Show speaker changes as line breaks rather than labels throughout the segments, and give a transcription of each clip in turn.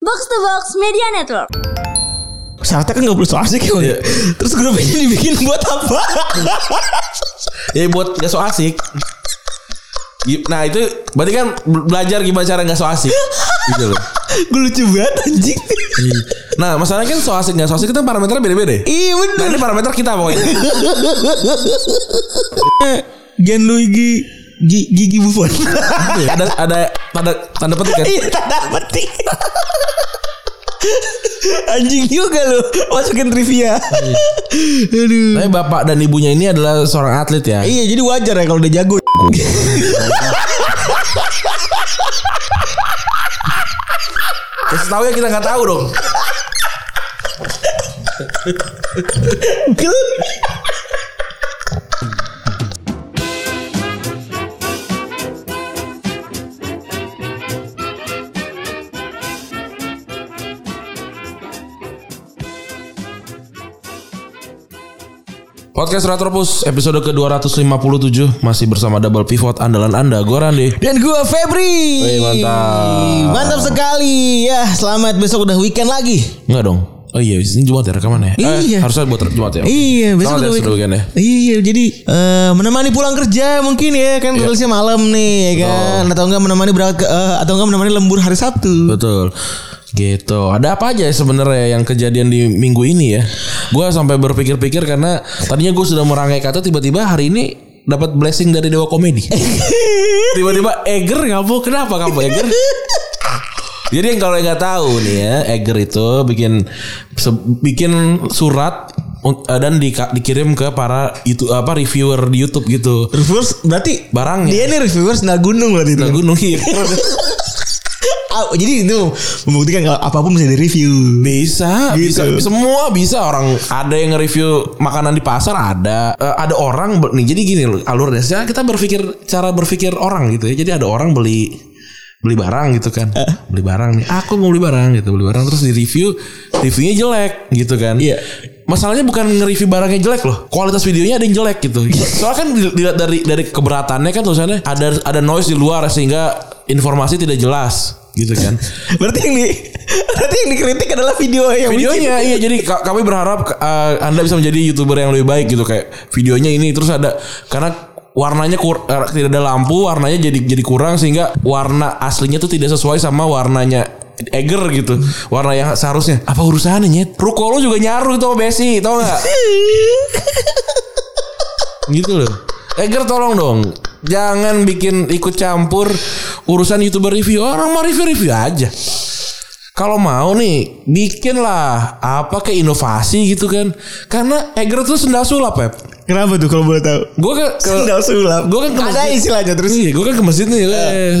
Box to Box Media Network.
Syaratnya kan gak boleh so asik ya.
Iya.
Terus grup ini dibikin buat apa?
Ya buat gak so asik. Gi- Nah itu berarti kan be- belajar gimana cara gak so asik.
Iya
Gitu loh.
Gue lucu banget anjing.
Nah masalahnya kan so asik gak so asik itu parameternya beda-beda. ya?
Iya
Nah
bener.
ini parameter kita pokoknya.
Gen Luigi Gi- Gigi Buffon.
ada ada tanda tanda petik kan.
Iya tanda petik. anjing juga lu masukin trivia. Aduh.
Tapi bapak dan ibunya ini adalah seorang atlet ya.
Iya jadi wajar ya kalau udah jago.
Kasih tahu ya kita nggak tahu dong. Podcast Retropus episode ke-257 masih bersama double pivot andalan Anda gue Randi.
Dan gua Febri.
Wih, mantap.
Mantap sekali. Ya, selamat besok udah weekend lagi.
Enggak dong. Oh iya, ini Jumat ya rekaman ya?
Iya.
Eh, harusnya buat Jumat ya.
Iya,
Selamat
besok udah
ya, seru weekend ya.
Iya, jadi eh, menemani pulang kerja mungkin ya kan rilisnya malam nih ya kan atau enggak menemani berangkat ke, eh, atau enggak menemani lembur hari Sabtu.
Betul. Gitu. Ada apa aja sebenarnya yang kejadian di minggu ini ya? Gua sampai berpikir-pikir karena tadinya gue sudah merangkai kata tiba-tiba hari ini dapat blessing dari Dewa Komedi. tiba-tiba Eger kamu kenapa kamu Eger? Jadi yang kalau yang nggak tahu nih ya, Eger itu bikin se- bikin surat un- eh, dan di- dikirim ke para itu apa reviewer di YouTube gitu.
reviewers berarti
Barangnya.
dia nih reviewers ya? nggak gunung berarti itu.
Nah, gue nunggu
Ah, jadi itu membuktikan kalau apapun bisa direview.
Bisa,
Gitu.
bisa, semua bisa orang ada yang nge-review makanan di pasar ada Eh, ada orang be- nih jadi gini loh alur dasarnya kita berpikir cara berpikir orang gitu ya jadi ada orang beli beli barang gitu kan
Eh.
beli barang nih aku mau beli barang gitu beli barang terus di review reviewnya jelek gitu kan
Iya.
masalahnya bukan nge-review barangnya jelek loh kualitas videonya ada yang jelek gitu
Iya.
soalnya kan dilihat dari dari keberatannya kan tulisannya ada ada noise di luar sehingga informasi tidak jelas gitu kan
Berarti yang di berarti yang dikritik adalah video yang
videonya
bikin.
iya jadi ka- kami berharap eh, anda bisa menjadi youtuber yang lebih baik gitu kayak videonya ini terus ada karena warnanya kur- eh, tidak ada lampu warnanya jadi jadi kurang sehingga warna aslinya tuh tidak sesuai sama warnanya Eger gitu warna yang seharusnya apa urusannya nyet ruko lu juga nyaru itu sama Besi tau gak gitu loh Eger tolong dong jangan bikin ikut campur urusan youtuber review orang mau review review aja kalau mau nih bikinlah apa ke inovasi gitu kan karena Eger tuh sendal sulap ya
Kenapa tuh kalau boleh tahu?
gue ke, ke
Sendal sulap.
gue kan ke
ada
masjid.
istilahnya terus. Ah.
iya gue kan ke masjid nih eh,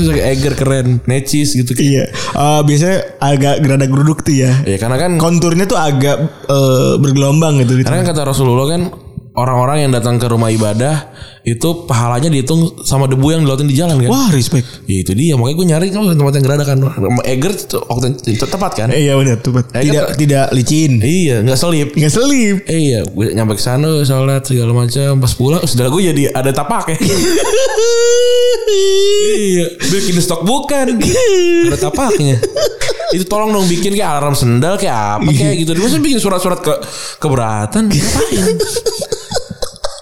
terus kayak Eger keren necis gitu kan
Iya. Eh, biasanya agak gerada geruduk tuh ya.
ya karena kan
Konturnya tuh agak eh, bergelombang gitu. gitu.
karena kan kata Rasulullah kan orang-orang yang datang ke rumah ibadah itu pahalanya dihitung sama debu yang dilotin di jalan kan
Wah, respect.
Ya itu dia makanya gue nyari kan tempat yang gerada kan Eger tuh waktu itu tepat kan
Eh, iya benar tuh. Pat.
Eh,
Tidak
kan-
tidak licin.
Iya nggak selip
Enggak selip.
Eh iya gue nyampe ke sana sholat segala macam pas pulang oh, saudara gue jadi ada tapak ya iya bikin stok bukan ada tapaknya itu tolong dong bikin kayak alarm sendal kayak apa kayak gitu masa bikin surat-surat ke keberatan ngapain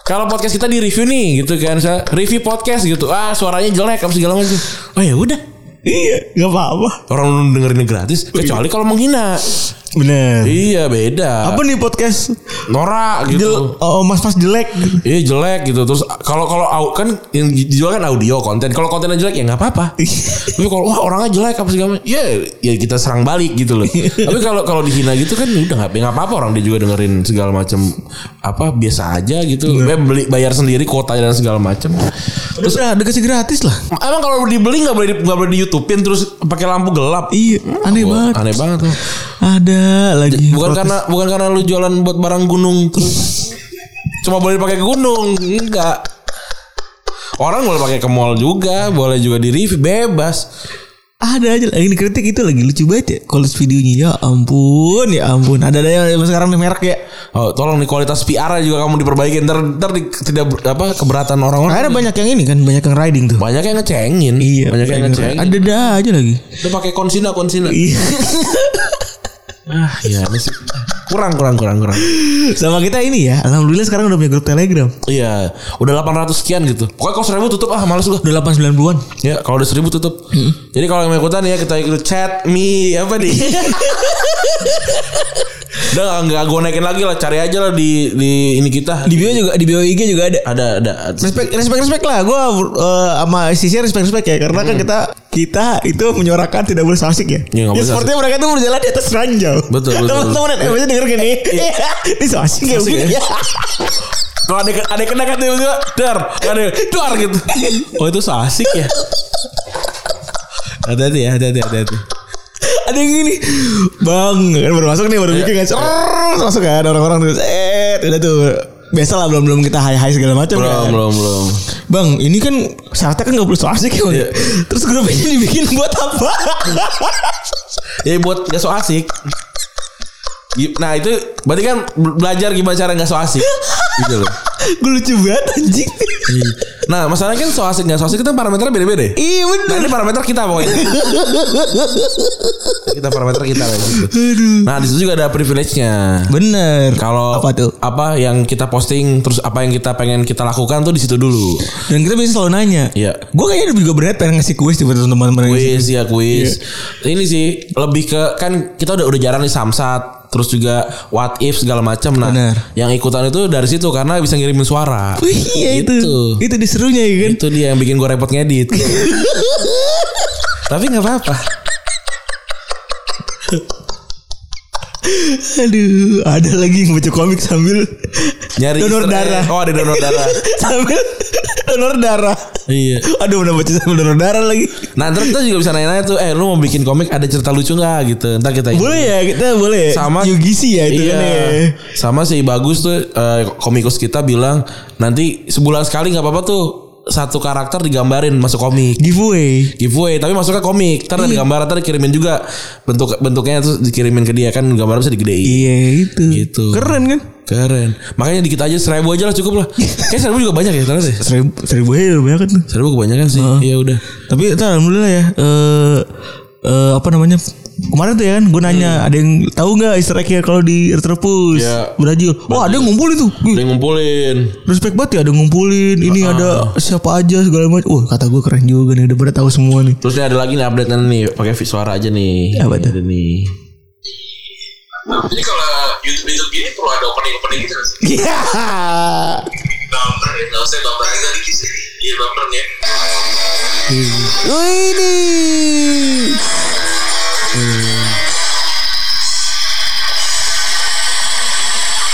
kalau podcast kita di review nih gitu kan saya review podcast gitu ah suaranya jelek apa segala macam oh ya udah
Iya, enggak apa-apa.
orang dengerinnya gratis kecuali kalau menghina
Bener.
iya beda
Apa nih podcast?
norak gitu
Jel- oh, Mas Mas jelek.
Iya jelek gitu terus kalau kalau au- kan yang dijual kan audio konten kalau kontennya jelek ya nggak apa-apa tapi kalau wah orangnya jelek apa segala macam, ya ya kita serang balik gitu loh tapi kalau kalau dihina gitu kan udah nggak nggak apa-apa orang dia juga dengerin segala macam apa biasa aja gitu ya, beli bayar sendiri kuota dan segala macam
Terus
eh,
ada kasih gratis lah.
emang kalau dibeli nggak boleh di- nggak boleh di YouTubein terus pakai lampu gelap
Iya, aneh
Wah,
banget.
aneh banget tuh.
Ada lagi.
bukan
Protes.
karena bukan karena lu jualan buat barang gunung terus cuma boleh pakai ke gunung enggak orang boleh pakai ke mall juga boleh juga di review bebas
ada aja lagi dikritik itu lagi lucu banget ya Kalau videonya ya ampun ya ampun ada ada yang sekarang nih merek ya
Oh, tolong nih kualitas PR juga kamu diperbaiki. Ntar ntar di- tidak ber- apa keberatan orang-orang.
Karena banyak yang ini kan banyak yang riding tuh
Banyak yang ngecengin.
Iya,
banyak yang ngecengin.
ada ada aja lagi
Udah pakai konsina konsina.
Iya.
ah, ya ini sih. kurang kurang kurang kurang.
sama kita ini ya alhamdulillah sekarang udah punya grup telegram
Iya, udah 800 sekian gitu. Pokoknya kalau 1000 tutup ah, males gua.
udah delapan sembilan puluhan
Ya, kalau udah 1000 tutup.
Hmm.
Jadi kalau yang mau ikutan ya kita ikut chat me apa nih. udah nggak gue naikin lagi lah cari aja lah di di ini kita
di bio juga di bio IG juga ada
ada ada
respect respect respect lah gue sama sisi respect respect ya karena kan kita kita itu menyuarakan tidak boleh asik ya,
Iya, nggak
ya
boleh
sepertinya mereka tuh berjalan di atas ranjau
Betul, betul, Iya.
teman-teman eh maksudnya denger gini ini asik ya
Asik
begini
ya.
ya
Kalau ada ada kena kan tiba-tiba dar, ada dar gitu. Oh itu asik ya. Hati-hati ya, hati-hati, hati-hati.
ada yang gini bang kan baru masuk nih baru
Iya.
bikin kan Serrrr, masuk kan orang-orang tuh eh udah tuh biasa lah belum belum kita high high segala macam
Belum,
kan.
belum, belum.
Bang, ini kan syaratnya kan gak perlu so asik ya. Bang?
Iya.
Terus grup ini dibikin buat apa?
Ya buat gak so asik. Gi- Nah itu berarti kan be- belajar gimana cara gak so asik. Gitu loh.
Gue lucu banget anjing.
Nah masalahnya kan so asik gak so asik itu parameternya beda-beda. ya?
Iya bener.
Nah ini parameter kita pokoknya. kita parameter kita kayak gitu. Nah di situ juga ada privilege-nya.
Bener.
Kalau
apa tuh?
Apa yang kita posting terus apa yang kita pengen kita lakukan tuh di situ dulu.
Dan kita bisa selalu nanya.
Iya.
Gue kayaknya juga berat pengen ngasih kuis tiba teman-teman yang-
Kuis ya kuis.
Iya.
Ini sih lebih ke kan kita udah udah jarang nih samsat terus juga what if segala macam nah.
Benar.
Yang ikutan itu dari situ karena bisa ngirimin suara.
Wih, iya itu.
Gitu.
Itu diserunya ya kan.
Itu dia yang bikin gue repot ngedit. Tapi nggak apa-apa.
Aduh, ada lagi yang baca komik sambil
Nyari
donor
easter egg.
darah.
Oh, ada donor darah.
sambil donor darah.
iya.
Aduh, udah baca sambil donor darah lagi.
Nah, ntar kita juga bisa nanya-nanya tuh, eh lu mau bikin komik ada cerita lucu nggak gitu. Ntar kita
Boleh ya, kita boleh.
sama
Yugisi ya itu
iya,
kan ya.
sama si bagus tuh eh, komikus kita bilang nanti sebulan sekali nggak apa-apa tuh satu karakter digambarin masuk komik
Giveaway.
giveaway tapi masuknya komik
Iya.
ntar ada gambar ntar dikirimin juga bentuk bentuknya terus dikirimin ke dia kan gambar bisa digedein
Iya itu.
Gitu.
Keren kan?
keren makanya dikit aja seribu aja lah cukup lah kayak seribu juga banyak ya ternyata sih
Seribu, seribu aja udah banyak kan tuh.
seribu kebanyakan sih iya udah
Tapi itu alhamdulillah ya. Eh eh, apa namanya? Kemarin tuh ya kan gue nanya ada yang tahu nggak Easter egg kalau di Retropus
Iya.
Brazil. Oh ada yang ngumpulin tuh. Wih,
Ada yang ngumpulin
Respect banget ya ada yang ngumpulin. Ini ada siapa aja segala macam. Wah kata gue keren juga nih. Udah pada tahu semua nih.
terus nih ada lagi nih update nih pakai suara aja nih
Iya, Apa tuh?
Ada nih
Jadi kalau YouTube YouTube gini perlu ada opening opening gitu nggak sih?
Iya.
Bumper ya, nggak usah bumper kita di kisah ini. Iya bumpernya.
Wih, ini.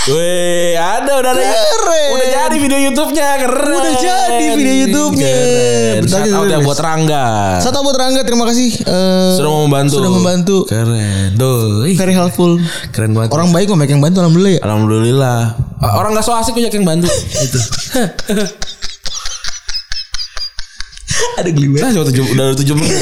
Weh, ada udah ada
Keren.
udah jadi video YouTube-nya keren.
Udah jadi video YouTube-nya.
Keren.
Bentar,
Shout out
bentar,
yang
guys.
buat Rangga.
Satu buat Rangga terima kasih. Eh,
Sudah mau membantu.
Sudah membantu.
Keren. Duh, ih,
Very helpful.
keren banget.
Orang baik kok banyak yang bantu alhamdulillah ya.
Alhamdulillah. Orang gak so asik banyak yang bantu. gitu.
Ada geli
Nah, cuma tujuh, udah tujuh menit.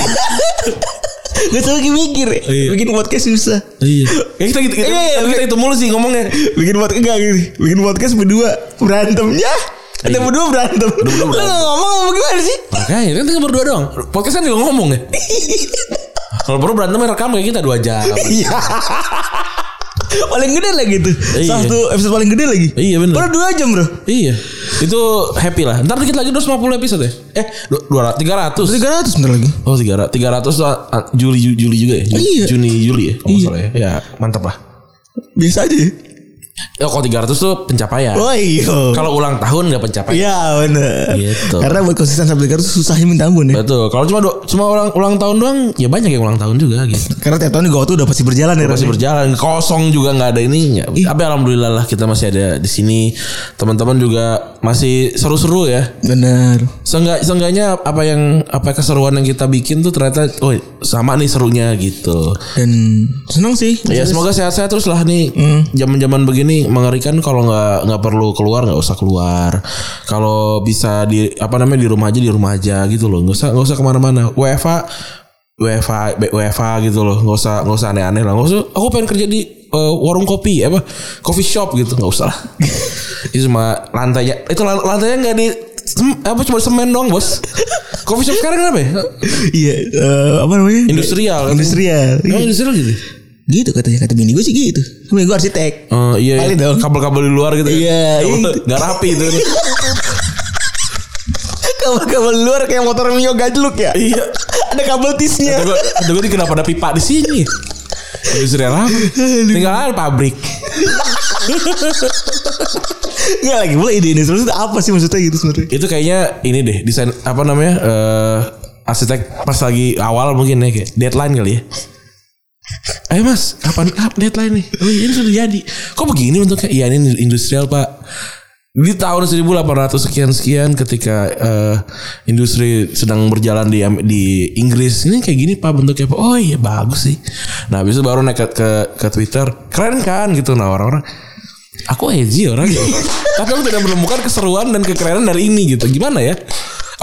Gak usah lagi mikir
Iya.
Bikin podcast susah
Iya. Ya, kita gitu, kita,
Iya, iya,
tapi kita itu mulu sih ngomongnya.
Bikin podcast enggak gini Bikin podcast berdua Berantemnya Kita
Iya.
berdua berantem Lu
berantem.
gak ngomong apa gimana sih
Makanya kan kita berdua doang. Podcast kan juga ngomong ya. Kalau perlu berantem rekam kayak kita dua jam.
Iya Paling gede lagi tuh
Iya.
Salah satu episode paling gede lagi
Iya, bener.
Baru 2 jam bro
Iya. Itu happy lah. Ntar dikit lagi 250 episode ya. Eh, 200
300
300.
bentar lagi
Oh tiga ratus tiga ratus ah, Juli Ju- Juli juga ya Ju-
Iya.
Juni Juli ya kalau nggak
Iya.
salah ya ya mantap lah
Biasa aja ya
ya kalau tiga ratus tuh pencapaian
Oh iya
kalau ulang tahun nggak pencapaian
Iya bener
Gitu.
Karena buat konsisten sampai 300 susahnya minta ampun ya
betul kalau cuma do- cuma ulang ulang tahun doang ya banyak yang ulang tahun juga gitu
Karena tiap tahun gue tuh udah pasti berjalan ya
masih
Ran.
berjalan kosong juga nggak ada ininya tapi alhamdulillah lah kita masih ada di sini teman-teman juga masih seru-seru ya
Bener
Seenggak, seenggaknya apa yang apa keseruan yang kita bikin tuh ternyata oh sama nih serunya gitu
Dan seneng sih
Ya semoga sehat-sehat terus Hmm. lah nih zaman-zaman begini mengerikan kalau nggak nggak perlu keluar nggak usah keluar kalau bisa di apa namanya di rumah aja di rumah aja gitu loh nggak usah nggak usah kemana-mana WFA WFA B- WFA gitu loh nggak usah nggak usah aneh-aneh lah nggak usah aku pengen kerja di eh, warung kopi apa coffee shop gitu nggak usah lah itu cuma lantainya itu lan- lantainya nggak di sem- apa cuma semen dong bos coffee shop sekarang kenapa ya?
Iya, eh, apa namanya?
industrial kan?
Industrial.
Emang
Iya.
industrial gitu
Gitu katanya kata bini gue sih gitu. Bini gue arsitek.
Eh, iya,
Kali
iya.
dong.
kabel-kabel di luar gitu.
Iya,
Kabel-
iya.
nggak rapi itu.
Kabel-kabel luar kayak motor Mio gajluk ya.
Oh. iya.
Ada kabel tisnya.
Aduh, aduh, gue kenapa ada pipa di sini? Industrial apa? Tinggalan pabrik.
Enggak lagi boleh ide industrial itu apa sih maksudnya gitu sebenarnya?
Itu kayaknya ini deh desain apa namanya? eh arsitek pas lagi awal mungkin ya kayak deadline kali ya. Ayo mas, kapan kapan deadline nih? Oh, ini sudah jadi. Kok begini bentuknya? Iya ini industrial pak. Di tahun 1800 sekian sekian ketika eh, industri sedang berjalan di Am- di Inggris ini kayak gini pak bentuknya pak. Oh iya bagus sih. Nah habis itu baru naik ke ke, ke Twitter. Keren kan gitu nah orang-orang. Aku edgy orang ya?" Tapi aku tidak menemukan keseruan dan kekerenan dari ini gitu. Gimana ya?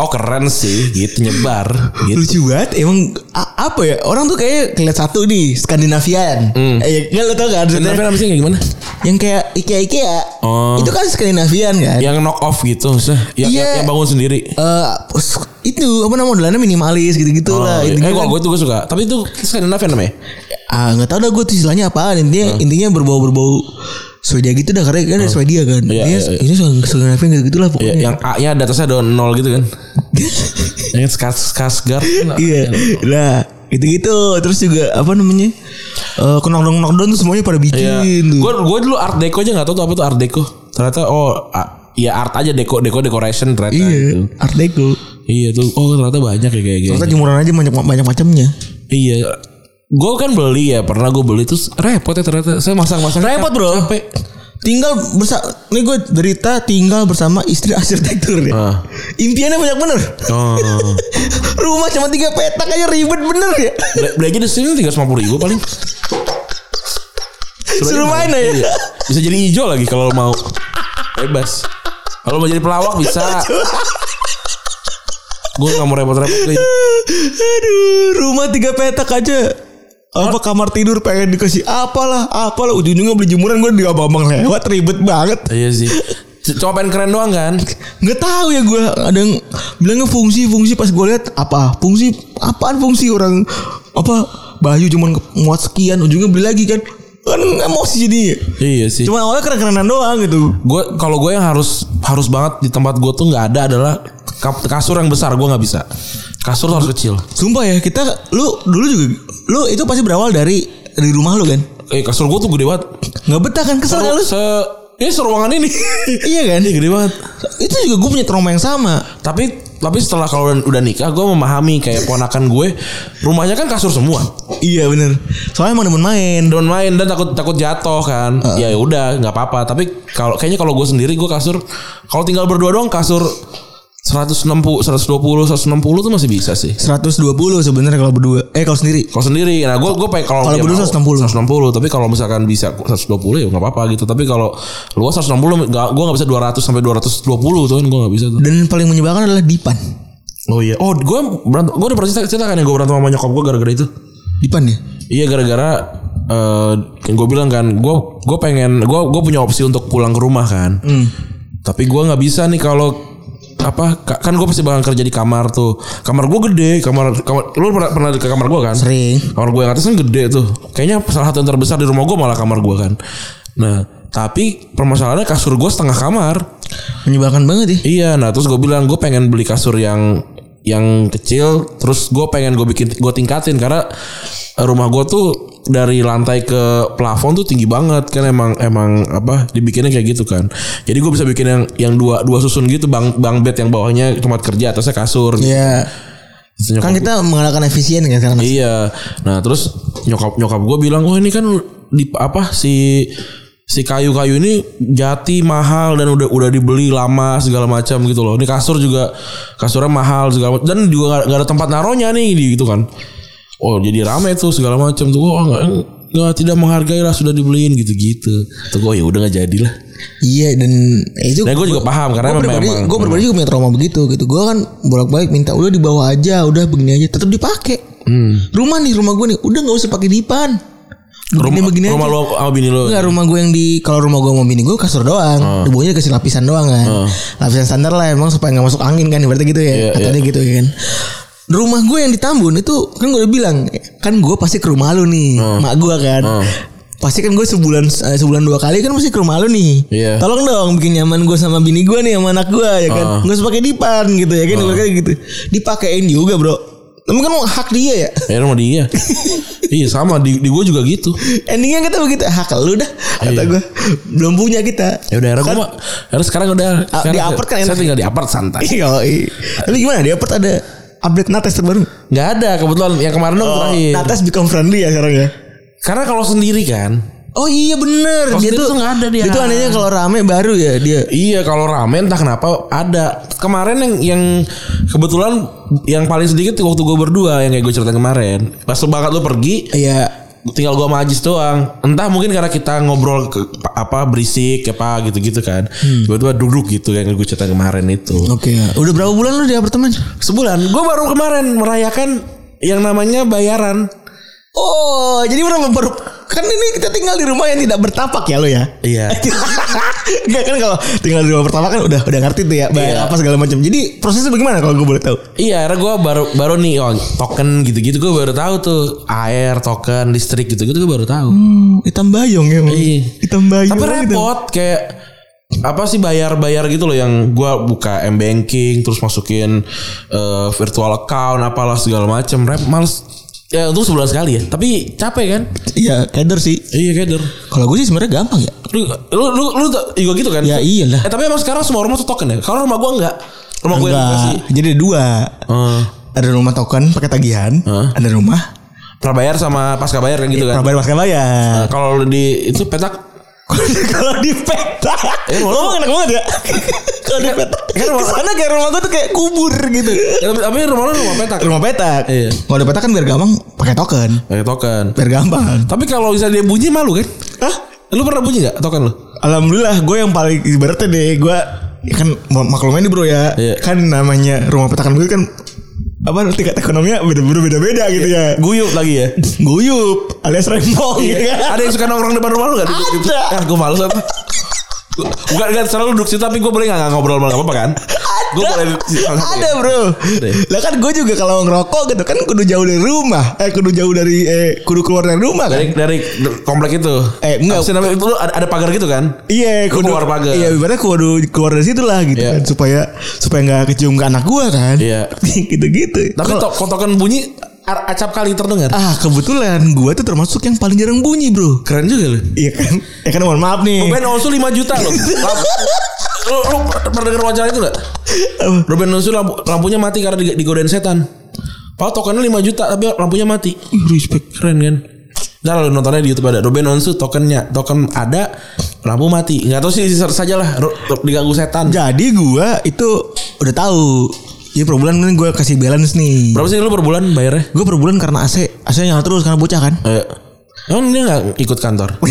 Oh keren sih gitu nyebar gitu.
Lucu banget emang a- apa ya orang tuh kayak ngeliat satu nih Skandinavian.
Hmm.
Eh, ya, lo tau gak arsitek
Kenapa namanya kayak gimana?
yang kayak IKEA IKEA
Oh.
itu kan Skandinavian kan?
yang knock off gitu maksudnya yang,
Iya.
yang- yang bangun sendiri
Eh, itu apa namanya modelannya minimalis gitu-gitu
Oh,
lah.
iya.
Intinya
eh
kan-
gue tuh gue suka tapi itu Skandinavian namanya
ah nggak tahu dah gue tuh istilahnya apa intinya
Hmm.
intinya berbau berbau Swedia gitu dah karena kan dari Swedia kan
Iya,
ini
iya, iya.
ini soal soal Skandinavia gitu gitulah
Ya,
pokoknya
yang A nya ada atasnya ada nol gitu kan yang skas skasgar
iya nah gitu gitu terus juga apa namanya Eh knock knock knock down tuh semuanya pada bikin tuh
gue gue dulu art deco aja nggak tahu tuh apa tuh art deco ternyata oh a- ya art aja deco deco decoration ternyata
iya
gitu.
art deco
iya tuh oh ternyata banyak ya kayak gitu
ternyata jemuran aja banyak banyak macamnya
iya gue kan beli ya pernah gue beli terus repot ya ternyata saya masang masang
repot bro tinggal bersama ini gue derita tinggal bersama istri arsitektur ya
Ah.
impiannya banyak bener
oh
rumah cuma tiga petak aja ribet bener ya
Bel- Belanja di sini tiga ribu paling.
Suruh main aja.
Iya. Bisa jadi hijau lagi kalau lo mau. Bebas. Kalau mau jadi pelawak bisa. Gue gak mau repot-repot deh.
Aduh, rumah tiga petak aja. Apa kamar tidur pengen dikasih apalah, apalah ujung-ujungnya beli jemuran gue di abang lewat ribet banget.
Iya sih. C- Cuma pengen keren doang kan.
Nggak tahu ya gue ada yang bilangnya fungsi-fungsi pas gue lihat apa fungsi apaan fungsi orang apa Bayu cuman ke- muat sekian ujungnya beli lagi kan kan emosi jadi
Iya sih.
cuma awalnya keren-kerenan doang gitu
gue kalau gue yang harus harus banget di tempat gue tuh nggak ada adalah kap- kasur yang besar gue nggak bisa kasur tuh harus kecil
sumpah ya kita lu dulu juga lu itu pasti berawal dari dari rumah lu kan
eh kasur gue tuh gede banget
nggak betah kan kesel kan lu
se ini seruangan ini
iya kan
ini gede banget
itu juga gue punya trauma yang sama
tapi tapi setelah kalau udah, udah nikah gue memahami kayak ponakan gue rumahnya kan kasur semua
Iya bener Soalnya emang demen main
demen main dan takut takut jatuh kan ya udah nggak apa-apa tapi kalau kayaknya kalau gue sendiri gue kasur kalau tinggal berdua doang kasur 160 120 160 tuh masih bisa sih
120 sebenarnya kalau berdua Eh kalau sendiri
kalau sendiri nah gue gue pengen kalau
Kalau
dia
berdua
mau,
160.
160 tapi kalau misalkan bisa 120 ya nggak apa-apa gitu tapi kalau luas 160 nggak gue nggak bisa 200 sampai 220 tuh kan gue nggak bisa tuh
Dan yang paling menyebalkan adalah Dipan
oh iya oh gue berantem gue udah pernah cerita, cerita kan yang gue berantem sama nyokap gue gara-gara itu
Dipan ya
Iya gara-gara eh yang gue bilang kan, gue gue pengen gue gue punya opsi untuk pulang ke rumah kan. Tapi gue nggak bisa nih kalau apa ka- kan gue pasti bakal kerja di kamar tuh kamar gue gede kamar kamar lu pernah pernah ke kamar gue kan
Sering
kamar gue yang atas kan gede tuh kayaknya salah satu yang terbesar di rumah gue malah kamar gue kan nah tapi permasalahannya kasur gue setengah kamar
Menyebalkan banget ya
Iya, nah terus gue bilang gue pengen beli kasur yang yang kecil, terus gue pengen gue bikin gue tingkatin karena rumah gue tuh dari lantai ke plafon tuh tinggi banget kan emang emang apa dibikinnya kayak gitu kan. Jadi gue bisa bikin yang yang dua dua susun gitu bang bang bed yang bawahnya tempat kerja atasnya kasur. gitu.
Iya
Itu nyokap
Kan kita mengadakan efisien kan sekarang
Iya. Nah terus nyokap nyokap gue bilang, wah ini kan di apa si si kayu-kayu ini jati mahal dan udah udah dibeli lama segala macam gitu loh. Ini kasur juga kasurnya mahal segala macam dan juga gak, ada tempat naruhnya nih di- gitu kan. Oh jadi rame tuh segala macam tuh. Wah nggak nggak tidak menghargai lah sudah dibeliin gitu-gitu. Tuh gue ya udah nggak jadilah.
Iya dan eh, itu
Dan gue Nah, juga paham karena
Gue
memang-
pribadi,
memang-
gue pribadi juga punya trauma begitu gitu. Gue kan bolak-balik minta udah dibawa aja, udah begini aja, tetap dipakai. Rumah nih rumah gue nih udah nggak usah pakai dipan.
Rumah,
Begini-begini
rumah
aja.
lo sama bini lo.
Enggak rumah gue yang di kalau rumah gue mau bini gue kasur
Ah.
doang, debunya dikasih lapisan doang kan, lapisan standar lah emang supaya nggak masuk angin kan, berarti gitu
Iya,
ya katanya gitu ya kan. Rumah gue yang di Tambun itu kan gue udah bilang kan gue pasti ke rumah lu nih,
Ah.
mak gue kan. Pasti kan gue sebulan eh, sebulan dua kali kan mesti ke rumah lu nih.
Iya.
Tolong dong bikin nyaman gue sama bini gue nih sama anak gue ya kan.
Ah.
Nggak usah pakai dipan gitu ya kan. ibaratnya gitu. Dipakein juga bro. Emang kan hak dia ya.
Ya rumah dia. iya sama di, di gue juga gitu.
Endingnya kata begitu Hak lu dah Kata
Iya.
gue Belum punya kita
Ya udah akhirnya gue mah akhirnya sekarang udah
Kan- Ah,
sekarang
di
saya-
apart kan
Saya
enak.
tinggal di apart santai.
Iya, Yoi. Tapi gimana di apart ada update Nates terbaru?
Gak ada kebetulan yang kemarin
Oh,
dong terakhir.
Nates become friendly ya sekarang ya.
Karena kalau sendiri kan.
Oh iya bener
Kalau sendiri tuh nggak ada dia.
Itu anehnya kalau rame baru ya dia
Iya kalau ramen entah kenapa ada kemarin yang yang kebetulan yang paling sedikit waktu gue berdua yang kayak gue cerita kemarin pas lu banget lu pergi
Iya
tinggal gua sama Ajis doang entah mungkin karena kita ngobrol ke, apa berisik apa gitu-gitu kan
Hmm.
tiba-tiba duduk gitu yang gue cerita kemarin itu
Oke ya. Udah berapa bulan lu di apartemen?
sebulan gue baru kemarin merayakan yang namanya bayaran
Oh jadi berapa baru Kan ini kita tinggal di rumah yang tidak bertapak ya lo ya
Iya.
Enggak kan kalau tinggal di rumah bertapak kan udah udah ngerti tuh ya bayar
Iya.
apa segala macam. Jadi prosesnya bagaimana kalau gue boleh tahu?
Iya, akhirnya gue baru baru nih oh, token gitu-gitu gue baru tahu tuh air token listrik gitu-gitu gue baru tahu.
Hmm, gitu. hitam bayong ya. Mang.
Iya.
Hitam bayong.
Tapi
Hitam-
repot kayak apa sih bayar-bayar gitu loh yang gua buka m banking terus masukin eh, virtual account apalah segala macem rep males ya untuk sebulan sekali ya tapi capek kan
Iya, keder sih.
iya keder
Kalau gue sih sebenarnya gampang ya.
lu lu lu, lu tuh juga gitu kan
Ya iyalah.
eh, tapi emang sekarang semua rumah tuh token ya kalau rumah gua enggak rumah gua yang
Enggak.
kasih
Jadi ada dua.
Eh,
Ada rumah token pakai tagihan, ada rumah eh,
prabayar sama pasca bayar kan gitu kan
prabayar pakai
Nah,
bayar.
kalau di itu petak
Kalau di peta,
Eh,
ngomong enak banget ya. Kalau di peta,
kan rumah-
kesana kayak rumah gue tuh kayak kubur gitu.
Ya, tapi, tapi rumah lu rumah petak
Rumah peta.
Iya.
Kalau di peta kan biar gampang pakai token,
pakai token
biar gampang.
tapi kalau bisa dia bunyi malu kan
Hah?
lu pernah bunyi nggak token lu
Alhamdulillah gue yang paling ibaratnya deh gue ya kan maklumnya nih bro ya
Iya.
kan namanya rumah petakan gue kan apa tingkat ekonominya beda-beda beda-beda gitu ya
guyup lagi ya
guyup alias rempong
Iya.
gitu kan.
Oh, ada yang suka nongkrong depan rumah lu gak?
Ada.
Ah, gue malu apa? Bukan kan selalu duduk situ tapi gue boleh nggak ngobrol sama apa-apa kan? Gue boleh
ada bro lah kan gue juga kalau ngerokok gitu kan kudu jauh dari rumah eh kudu jauh dari eh kudu keluar dari rumah
dari
kan
dari komplek itu.
Eh, enggak.
Apa sih namanya? itu lu ada, ada pagar gitu kan?
Iya,
Lu keluar pagar.
Iya, ibaratnya kudu keluar dari situ lah gitu
Iya.
kan supaya supaya nggak kecium ke anak gua kan.
Iya.
gitu-gitu.
Tapi to kotokan bunyi a- acap kali terdengar.
Ah kebetulan gue tuh termasuk yang paling jarang bunyi bro
Keren juga lu.
Iya kan Ya kan mohon maaf nih
Ruben Onsu 5 juta loh. Lamp- lu, lu pernah denger wawancara itu gak?
Apa?
Ruben Onsu lampu, lampunya mati karena dig- digodain setan. Pak tokennya 5 juta tapi lampunya mati.
Ih, Respect
Keren kan? Ntar lu nontonnya di YouTube ada Ruben Onsu tokennya, token ada, lampu mati. Nggak tahu sih saja lah Ru- ru- diganggu setan.
Jadi gue itu udah tahu Jadi per bulan gue kasih balance nih
Berapa sih lu per bulan bayarnya?
Gue per bulan karena AC AC nyala terus karena bocah kan
Eh, Emang dia gak ikut kantor?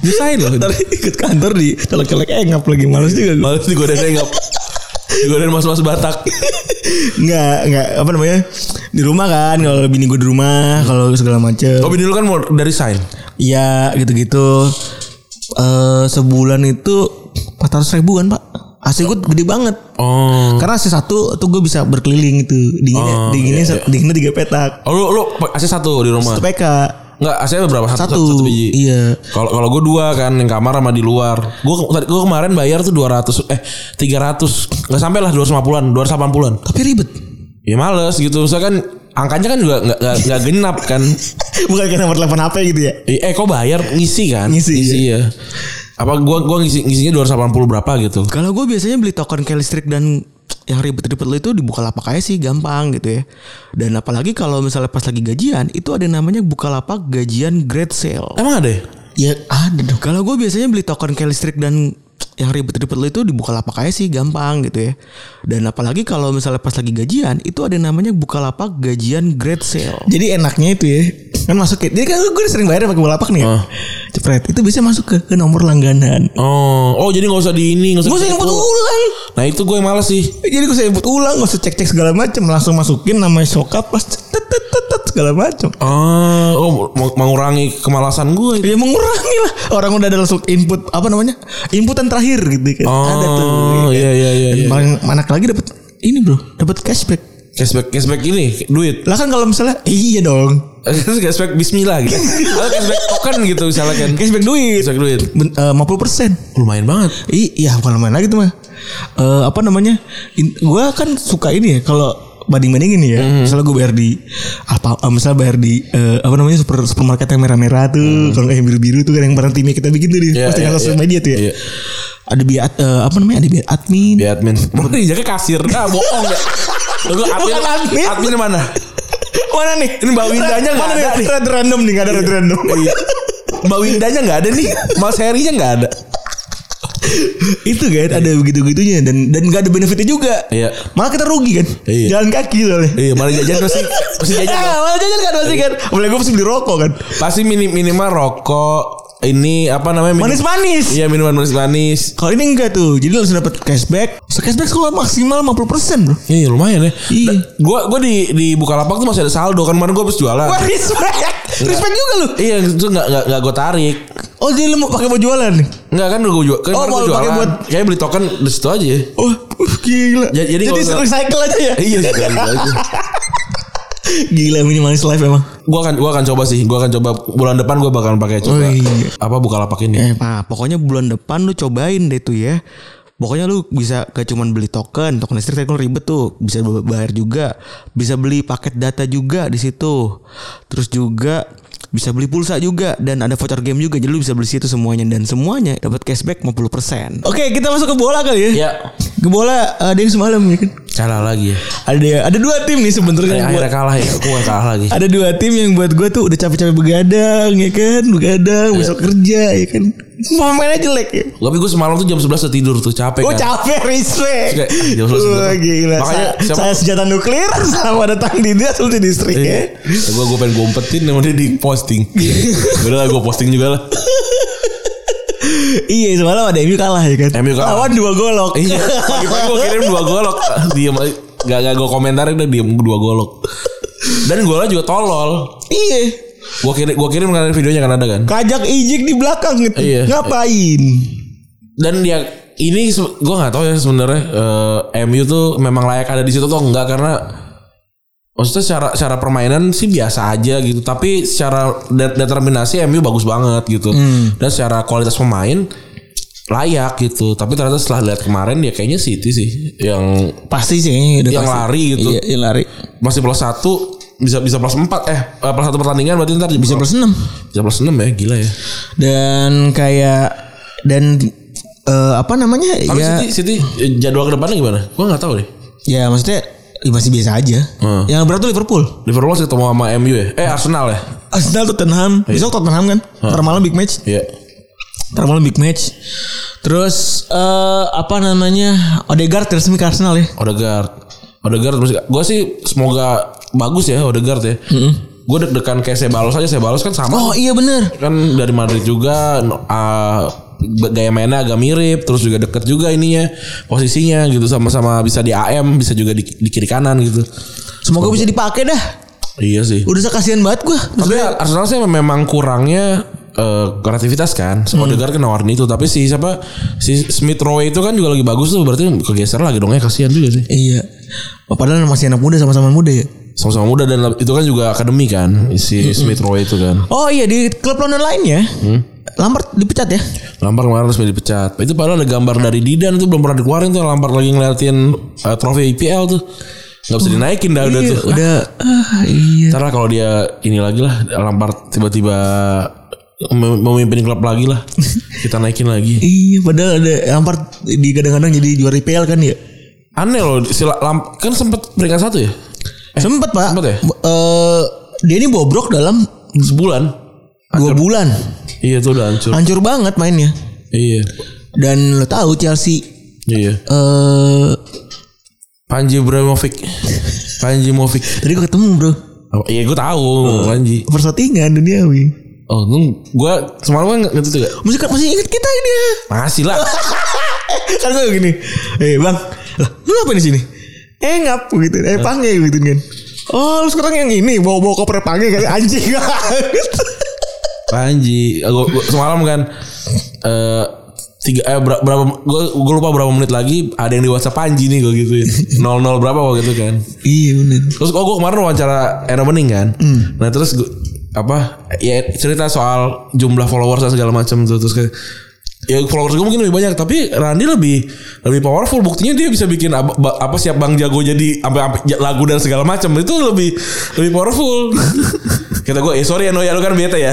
Desain loh.
Ntar ikut kantor di colek-colek engap lagi males juga gue
Males digodain enggak. Digodain mas-mas Batak.
Nggak, nggak apa namanya Di rumah kan kalau bini gue di rumah Kalau segala macem
Oh, bini lu kan mau dari sign.
Iya gitu-gitu eh Sebulan itu 400 ribuan pak AC gue gede banget
Oh.
Karena AC satu tuh gue bisa berkeliling itu dinginnya
Oh,
dinginnya dinginnya tiga petak
Oh lu lu AC satu di rumah.
satu PK
Enggak, AC berapa?
satu,
biji.
iya
Kalau kalau gue dua kan yang kamar sama di luar. Gue gue kemarin bayar tuh 200 eh 300. Enggak sampai lah 250-an, 280-an.
tapi ribet
Ya males gitu. Misalkan angkanya kan juga enggak enggak, enggak genap kan.
bukan kayak nomor telepon HP gitu ya
Eh kok bayar ngisi kan?
Ngisi, iya.
ya. Apa gua gua ngisi ngisinya 280 berapa gitu.
kalau gue biasanya beli token kayak listrik dan yang ribet-ribet lo itu dibuka lapak aja sih gampang gitu ya dan apalagi kalau misalnya pas lagi gajian itu ada yang namanya buka lapak gajian grade sale
Emang ada ya?
ya ada dong kalau gue biasanya beli token kayak listrik dan yang ribet-ribet lo itu dibuka lapak aja sih gampang gitu ya dan apalagi kalau misalnya pas lagi gajian itu ada yang namanya buka lapak gajian grade sale Ah.
Jadi enaknya itu ya kan masuk ke. Jadi kan gue udah sering bayar pakai balapak nih. Ya.
Heeh.
Cepet
spread itu biasanya masuk ke, ke nomor langganan.
Oh, oh jadi nggak usah di ini, nggak usah.
Gak usah input ulang.
Nah itu gue yang males sih.
Eh, Jadi gue saya input ulang, gak usah cek-cek segala macam, langsung masukin namanya sokap pas tet, tet, tet, tet, segala macam.
Ah, oh mau- mengurangi kemalasan gue.
Ya mengurangi lah Orang udah ada langsung input Apa namanya Inputan terakhir gitu kan
Oh,
Ada tuh
iya, iya, iya,
Dan
iya.
paling anak lagi dapat Ini bro dapat cashback
Cashback, cashback ini duit.
Lah kan kalau misalnya Iya dong
cashback Bismillah gitu. Atau cashback token gitu misalnya kan.
Cashback duit
Cashback duit.
Ben, eh, 50%
Lumayan banget.
I- Iya bukan lumayan lagi tuh mah Eh, Apa namanya In- Gua kan suka ini ya Kalau banding-bandingin ya
Mhm.
Misalnya gue bayar di apa eh, Misalnya bayar di eh, Apa namanya super, Supermarket yang merah-merah tuh Kalau nggak yang biru-biru tuh kan Yang pernah timnya kita bikin tuh di
Mhm. Iya,
postingan
iya,
sosial
iya.
media tuh ya
Iya.
Ada biar Apa namanya Ada biar admin
Di admin. Mau dijaga kasir. Ah, bohong deh. Lu admin,
Bukan admin.
admin. mana?
Mana nih?
Ini Mbak Windanya nggak
Mana
ada
nih?
nih.
Red random nih, nggak ada red random.
Iya. Mbak Windanya nggak ada nih. Mas Herinya nggak ada.
itu kan ada begitu-gitunya dan dan nggak ada benefitnya juga.
Iya.
Malah kita rugi kan.
Iya.
Jalan kaki soalnya.
Iya, malah jajan pasti pasti jajan.
Ah, malah jajan kan pasti kan. Boleh gue pasti beli rokok kan.
Pasti minim minimal rokok ini apa namanya? minum-
Manis-manis.
Iya, minuman manis-manis.
Kalau ini enggak tuh. Jadi lo langsung dapat cashback. So, cashback kalau maksimal 50%, Bro.
Iya lumayan ya.
Iya.
Da- Gua gua di di Bukalapak tuh masih ada saldo kan kemarin gua habis jualan.
Wah, respect. Respect juga lu.
Iya itu nggak nggak nggak gue tarik.
Oh, jadi lo mau pakai mau jualan nih.
Nggak kan gue jual. Kan
Oh,
kemarin gua
mau pakai
jualan.
buat-
Kayak beli token di situ aja. ya.
Oh, gila.
Ja- jadi
jadi
kalau-
recycle aja ya.
Iya sih. kayak gitu aja.
Gila minimalis life emang.
Gua akan gua akan coba sih. Gua akan coba bulan depan gua bakalan pakai
Oh,
coba.
iya.
Apa Bukalapak ini?
Eh, Pak, pokoknya bulan depan lu cobain deh tuh ya. Pokoknya lu bisa gak cuman beli token, token listrik tadi kan ribet tuh, bisa ba- bayar juga, bisa beli paket data juga di situ. Terus juga bisa beli pulsa juga dan ada voucher game juga jadi lu bisa beli situ semuanya dan semuanya dapat cashback 50%. Oke, kita masuk ke bola kali ya.
Ya.
Ke bola ada yang semalam ya kan.
Kalah lagi ya.
Ada ada dua tim nih sebenarnya.
Eh,
buat-
akhirnya kalah ya. Gua kalah lagi.
ada dua tim yang buat gue tuh udah capek-capek begadang ya kan begadang besok kerja ya kan Semua mainnya jelek ya
Tapi gue semalam tuh jam 11 udah tidur tuh capek
gue Oh,
kan.
capek respect
Oke, jam 11
Wah,
betul.
gila
Makanya
Sa-
siapa-
saya senjata nuklir sama datang di dia selalu di distrik ya
Gue gue pengen gompetin yang udah di posting. Udah lah gue posting juga lah.
iya semalam ada MU kalah ya kan
MU kalah.
lawan dua golok
Iya. Pagi-pagi gue kirim dua golok. Diam aja. Gak, gak gue komentarin udah diem dua golok. Dan golnya juga tolol.
iya
Gue kirim gue kirim kan ada videonya kan ada kan.
kajak ijik di belakang gitu
Iya.
ngapain
Dan dia ini se- gue nggak tahu ya sebenarnya eh, MU tuh memang layak ada di situ atau enggak karena maksudnya secara secara permainan sih biasa aja gitu tapi secara de- determinasi MU bagus banget gitu
Hmm.
dan secara kualitas pemain layak gitu tapi ternyata setelah lihat kemarin ya kayaknya City sih yang
pasti sih kayaknya udah
Yang
pasti.
lari gitu.
iya, yang lari
masih plus satu bisa bisa plus empat eh eh, plus satu pertandingan berarti ntar bisa plus
enam
bisa plus enam ya gila ya
dan kayak dan eh, apa namanya
tapi
ya
City, City eh, jadwal kedepannya gimana gua nggak tahu deh
Ya maksudnya ya masih biasa aja.
Hmm.
Yang berat tuh Liverpool.
Liverpool masih ketemu sama MU ya eh Arsenal ya
Arsenal Tottenham. Besok Tottenham kan. Ntar malam big match.
Iya.
Ntar malam big match. Terus eh apa namanya? Odegaard resmi ke Arsenal ya.
Odegaard Odegaard masih gue sih semoga bagus ya Odegaard ya gue deg-degan kayak Sebalos aja Sebalos kan sama
Oh iya bener.
kan dari Madrid juga no- ah, gaya mainnya agak mirip terus juga deket juga ininya posisinya gitu sama-sama bisa di AM bisa juga di, di kiri kanan gitu
Semoga bisa dipakai dah.
iya sih
Udah saya kasihan banget gua.
Tapi Arsenal sih memang kurangnya eh, kreativitas kan. Si Odegaard kan nawarin itu, tapi si siapa si Smith Rowe itu kan juga lagi bagus tuh, berarti kegeser lagi dong ya kasihan juga sih.
Iya. Oh, Padahal masih anak muda sama-sama muda ya.
Sama-sama muda dan lab- itu kan juga akademi kan si Smith Rowe itu kan.
Oh iya di klub London lainnya.
Hmm?
Lampard dipecat ya.
Lampard kemarin resmi dipecat. Itu padahal ada gambar dari Didan itu belum pernah dikeluarin tuh Lampard lagi ngeliatin eh, trofi IPL tuh. Gak bisa dinaikin dah udah tuh.
Iya. Udah ah, iya.
Ntar lah kalau dia ini lagi lah Lampard tiba-tiba mem- memimpin klub lagi lah. Kita naikin lagi.
Iya, padahal ada Lampard di kadang-kadang jadi juara IPL kan ya.
Aneh loh si La- Lam- kan sempet peringkat satu ya
Eh, sempet pak.
sempet ya?
B- eh, dia ini bobrok dalam
sebulan.
dua bulan.
Iya tuh udah hancur.
Hancur banget mainnya.
Iya.
Dan lo tahu Chelsea
Iya.
eh
Panji Ibrahimovic. Panji Movic.
tadi gue ketemu bro
Apa- Iya gue tahu Panji.
persatingan duniawi.
Oh, untung gua semalam kan nggak gitu ya.
Masih masih inget kita ini ya.
Masih lah.
kan gue gini eh bang lah lu apa di sini eh ngap gitu eh pange gitu kan oh lu sekarang yang ini bawa bawa koper pange kan anjing
Panji, Eh, gua, gua semalam kan eh tiga eh ber- berapa gua, gua lupa berapa menit lagi ada yang di WhatsApp Panji nih gua gituin. 00 berapa gua gitu kan.
iya bener
Terus oh gue kemarin wawancara Era Bening kan.
Hmm.
Nah terus gua, apa ya cerita soal jumlah followers dan segala macam tuh terus kayak ya followers gue mungkin lebih banyak tapi Randy lebih lebih powerful buktinya dia bisa bikin ab- ba- apa siap Bang Jago jadi sampai sampai ja- lagu dan segala macam itu lebih lebih powerful kata gue eh sorry ya Noya lu kan bete ya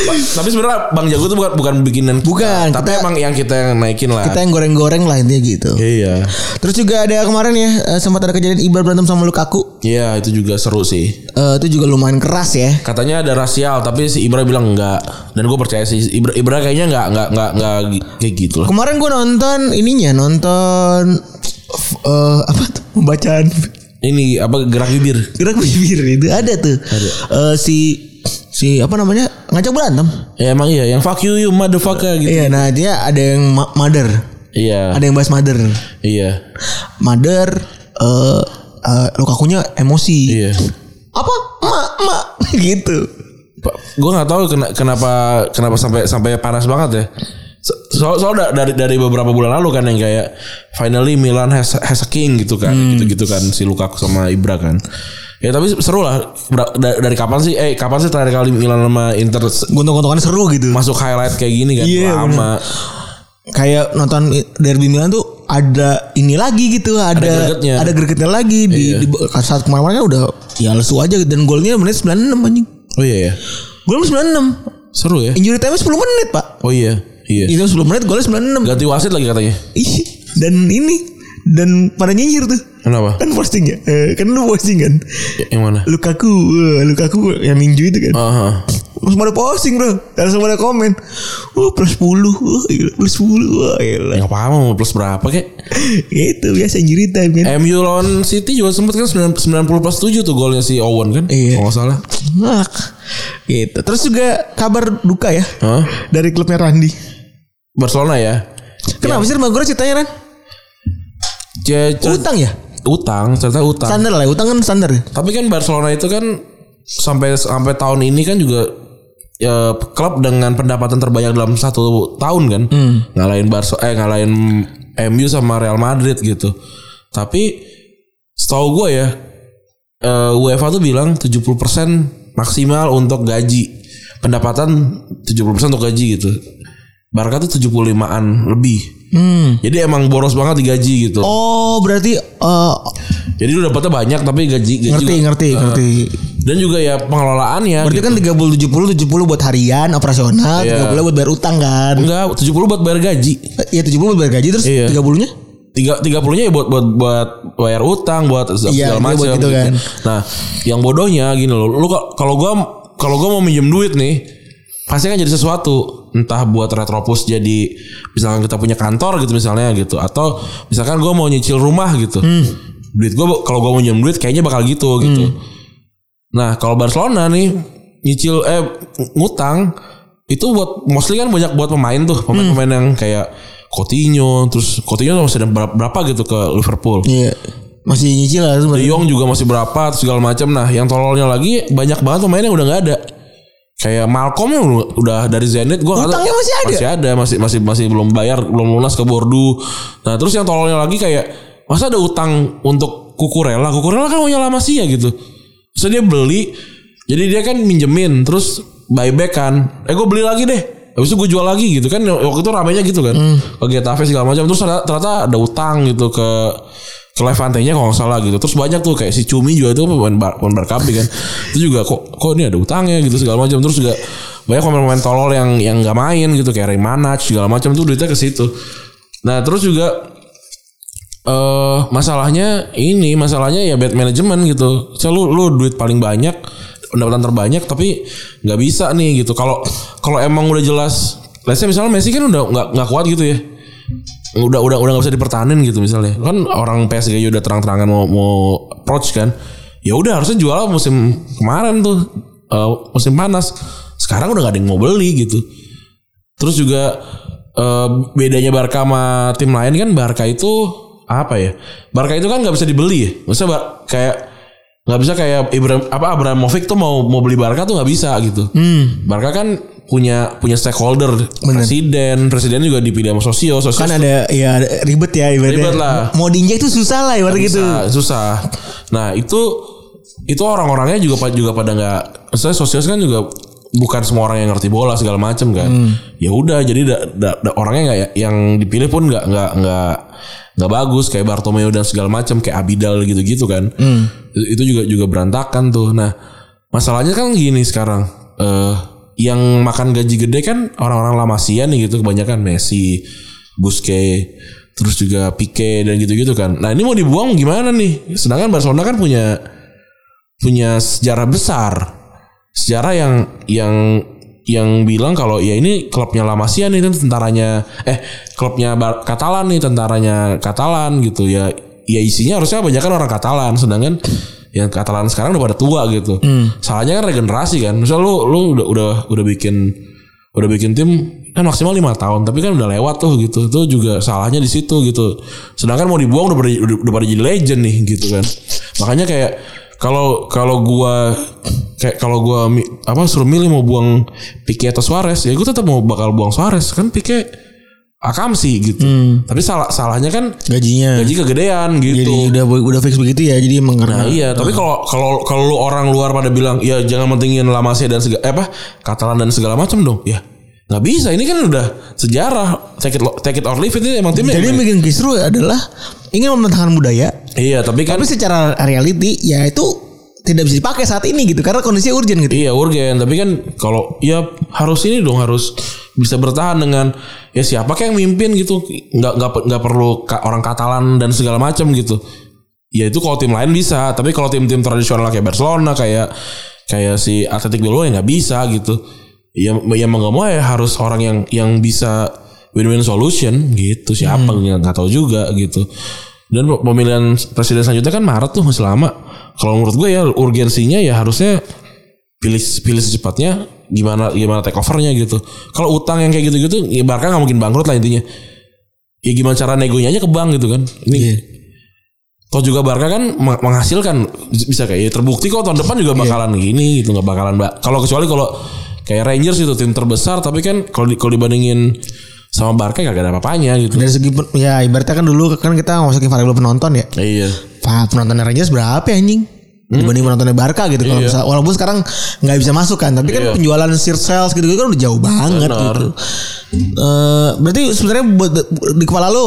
Ba- tapi sebenarnya Bang Jago tuh bukan bukan bikinan kita,
Bukan,
tapi
kita-
emang yang kita yang naikin lah
kita yang goreng goreng lah intinya gitu
iya
terus juga ada kemarin ya eh, sempat ada kejadian Iqbal berantem sama Lukaku
Iya itu juga seru sih
Eh, itu juga lumayan keras ya
Katanya ada rasial tapi si Ibra bilang enggak dan gue percaya sih Ibra, Ibra kayaknya enggak enggak enggak enggak gi- kayak gitu lah.
kemarin gue nonton ininya nonton eh, apa tuh pembacaan
Ini apa gerak bibir?
gerak bibir itu ada tuh Eh, si si apa namanya ngajak berantem
Ya emang iya yang fuck you you motherfucker gitu.
iya nah dia ada yang ma- mother
Iya.
ada yang bahas mother
Iya.
mother eh eh, lukakunya emosi
Iya.
apa emak emak gitu
Gue nggak tahu kena- kenapa kenapa sampai sampai panas banget ya. So- So, soalnya dari dari beberapa bulan lalu kan yang kayak finally Milan has, has a king gitu kan
Hmm.
gitu-gitu kan si Lukaku sama Ibra kan ya tapi seru lah Bra- da- dari kapan sih eh kapan sih terakhir kali Milan sama Inter se-
gontok-gontokan seru gitu
masuk highlight kayak gini kan
Iya,
lama
kayak nonton derby Milan tuh ada ini lagi gitu ada ada
gregetnya.
gregetnya, Iya. lagi di, di saat kemarin kan udah ya lesu aja gitu. dan golnya menit 96 anjing
oh iya ya
gol menit 96
seru ya
injury time 10 menit pak
oh iya iya
Itu 10 menit golnya 96.
ganti wasit lagi katanya
Ih, dan ini dan pada nyinyir tuh.
kenapa
Kan posting ya? Eh, kan lu posting kan?
yang mana
Lukaku, eh, Lukaku yang ninju itu kan.
Aha.
Terus pada posting bro Langsung pada komen Wah plus 10 Wah gila plus 10 Wah gila
Yang paham mau plus berapa kek
Gitu biasa injury time kan
MU lawan City juga sempet kan 90 plus 7 tuh golnya si Owen kan
Iya.
Kalau nggak salah
Ngak. Gitu Terus juga kabar duka ya
Hah?
Dari klubnya Randi
Barcelona ya
Kenapa sih Magura ceritanya Ran?
C- cer-
Utang ya?
utang cerita utang
Standar lah ya, Utang kan standar ya?
tapi kan Barcelona itu kan sampai sampai tahun ini kan juga ya, klub dengan pendapatan terbanyak dalam satu tahun kan
Hmm.
ngalahin Barso eh ngalahin MU sama Real Madrid gitu tapi setahu gue ya eh, UEFA tuh bilang 70% maksimal untuk gaji pendapatan 70% untuk gaji gitu Barca tuh 75-an lebih
Hmm
jadi emang boros banget digaji gitu
Oh berarti eh,
jadi lu dapatnya banyak tapi gaji gaji
ngerti
juga- eh.
ngerti ngerti
dan juga ya pengelolaannya
berarti kan 30 70 70 buat harian operasional
Iya.
30 buat bayar utang kan
Gitu. enggak 70 buat bayar gaji
ya 70 buat bayar gaji terus
Iya.
30 nya
tiga tiga puluhnya ya buat buat buat bayar utang buat
Iya,
segala
dia buat
macam
gitu kan.
nah yang bodohnya gini loh lu ka- kalau gua kalau gua mau minjem duit nih pasti kan jadi sesuatu entah buat retropus jadi misalkan kita punya kantor gitu misalnya gitu atau misalkan gua mau nyicil rumah gitu
Hmm.
duit gua kalau gua mau minjem duit kayaknya bakal gitu gitu Nah kalau Barcelona nih nyicil eh ng- ngutang itu buat mostly kan banyak buat pemain tuh pemain-pemain yang kayak Coutinho terus Coutinho masih ada berapa, berapa gitu ke Liverpool.
iya masih nyicil lah
De
sebenarnya
Jong juga masih berapa terus segala macam. Nah yang tololnya lagi banyak banget pemain yang udah nggak ada. Kayak Malcolm yang udah dari Zenit gua nggak tahu-
Utangnya masih ada?
Masih ada, masih masih masih belum bayar, belum lunas ke Bordeaux. Nah, terus yang tololnya lagi kayak masa ada utang untuk Kukurela? Kukurela kan punya Lamasia gitu. Terus dia beli jadi dia kan minjemin terus buyback kan. Eh gue beli lagi deh. Habis itu gue jual lagi gitu kan waktu itu ramenya gitu kan.
Hmm.
Ke Getafe segala macam terus ada- ternyata ada utang gitu ke ke Levante-nya kalau nggak salah gitu. Terus banyak tuh kayak si Cumi juga itu pemain Bar- pemain Barkabi kan. itu juga kok kok ini ada utangnya gitu segala macam. Terus juga banyak pemain-pemain tolol yang yang nggak main gitu kayak Remanac segala macam tuh duitnya ke situ. Nah, terus juga eh masalahnya ini masalahnya ya bad management gitu. Misal lu lu duit paling banyak, pendapatan terbanyak tapi nggak bisa nih gitu. Kalau kalau emang udah jelas let's say misalnya Messi kan udah nggak nggak kuat gitu ya. Udah udah udah nggak bisa dipertahanin gitu misalnya. Kan orang PSG aja udah terang-terangan mau mau approach kan. ya udah harusnya jual musim kemarin tuh eh, musim panas sekarang udah gak ada yang mau beli gitu terus juga eh, bedanya Barca sama tim lain kan Barca itu apa ya Barca itu kan nggak bisa dibeli ya maksudnya Bar- kayak nggak bisa kayak Ibrahim apa Abramovich tuh mau mau beli Barca tuh nggak bisa gitu Barca kan punya punya stakeholder presiden presiden juga dipilih sama sosio sosio
kan ada ya ada- ribet ya ibaratnya.
Ribet lah.
Mau diinjak itu susah lah ibarat gitu.
susah, susah. Nah itu itu orang-orangnya juga pa- juga pada nggak. Saya sosial kan juga bukan semua orang yang ngerti bola segala macem kan. Ya udah jadi da- da- da- orangnya nggak ya- yang dipilih pun nggak nggak nggak nggak bagus kayak Bartomeu dan segala macem kayak Abidal gitu-gitu kan. Itu itu juga juga berantakan tuh. Nah masalahnya kan gini sekarang. eh yang makan gaji gede kan orang-orang Lamasian nih gitu kebanyakan Messi, Busquets, terus juga Pique dan gitu-gitu kan. Nah ini mau dibuang gimana nih? Sedangkan Barcelona kan punya punya sejarah besar, sejarah yang yang yang bilang kalau ya ini klubnya La Masia nih kan tentaranya eh klubnya Bar- Katalan nih tentaranya Katalan gitu ya ya isinya harusnya kebanyakan orang Katalan sedangkan yang Katalan sekarang udah pada tua gitu salahnya kan regenerasi kan misal lu lu udah udah udah bikin udah bikin tim kan maksimal lima tahun tapi kan udah lewat tuh gitu itu juga salahnya di situ gitu sedangkan mau dibuang udah pada, udah, udah pada jadi legend nih gitu kan makanya kayak kalau kalau gua kayak kalau gua mi- apa suruh milih mau buang Pique atau Suarez ya gua tetap mau bakal buang Suarez kan Pique akamsi gitu tapi salah salahnya kan
Gajinya.
gaji kegedean gitu
Jadi udah udah fix begitu ya. Jadi emang karena
Nah, iya, tapi kalau kalau kalau lu orang luar pada bilang ya jangan mentingin Lamassia dan segala eh, apa Katalan dan segala macam dong. Ya nggak bisa. Ini kan udah sejarah. Take it lo- take it or leave it ini emang timnya.
Jadi yang
emang-
bikin kisru adalah ingin mempertahankan budaya,
iya, tapi kan
tapi secara reality ya itu tidak bisa dipakai saat ini gitu karena kondisinya urgent gitu.
Iya urgen Tapi kan kalau Ya harus ini dong Harus bisa bertahan dengan Ya siapa kayak yang mimpin gitu Nggak, nggak, pe- nggak perlu ka- orang Katalan Dan segala macam gitu Ya itu kalau tim lain bisa Tapi kalau tim-tim tradisional Kayak Barcelona Kayak kayak si Atletico dulu Ya nggak bisa gitu Ya, ya mau nggak mau ya harus orang yang yang bisa win-win solution gitu siapa nggak nggak tahu juga gitu dan pemilihan presiden selanjutnya kan Maret tuh masih lama kalau menurut gue ya urgensinya ya harusnya pilih pilih secepatnya gimana gimana take overnya gitu. Kalau utang yang kayak gitu-gitu ya Barca nggak mungkin bangkrut lah intinya. Ya gimana cara negonya aja ke bank gitu kan. Ini
Iya.
toh juga Barca kan meng- menghasilkan bisa kayak ya terbukti kok tahun depan
Iya.
juga bakalan gini gitu nggak bakalan mbak. Kalau kecuali kalau kayak Rangers itu tim terbesar tapi kan kalau di- kalau dibandingin sama Barca gak ada apa-apanya gitu.
Dari segi pen- ya ibaratnya kan dulu kan kita masukin variabel penonton ya.
Iya.
Pak penontonnya Rangers berapa ya, anjing?
Hmm.
Dibanding penontonnya Barca gitu kalau misal- walaupun sekarang nggak bisa masuk kan, tapi kan
Iya.
penjualan seat sales gitu, kan udah jauh banget gitu.
Benar.
Eh, berarti sebenarnya buat di kepala lu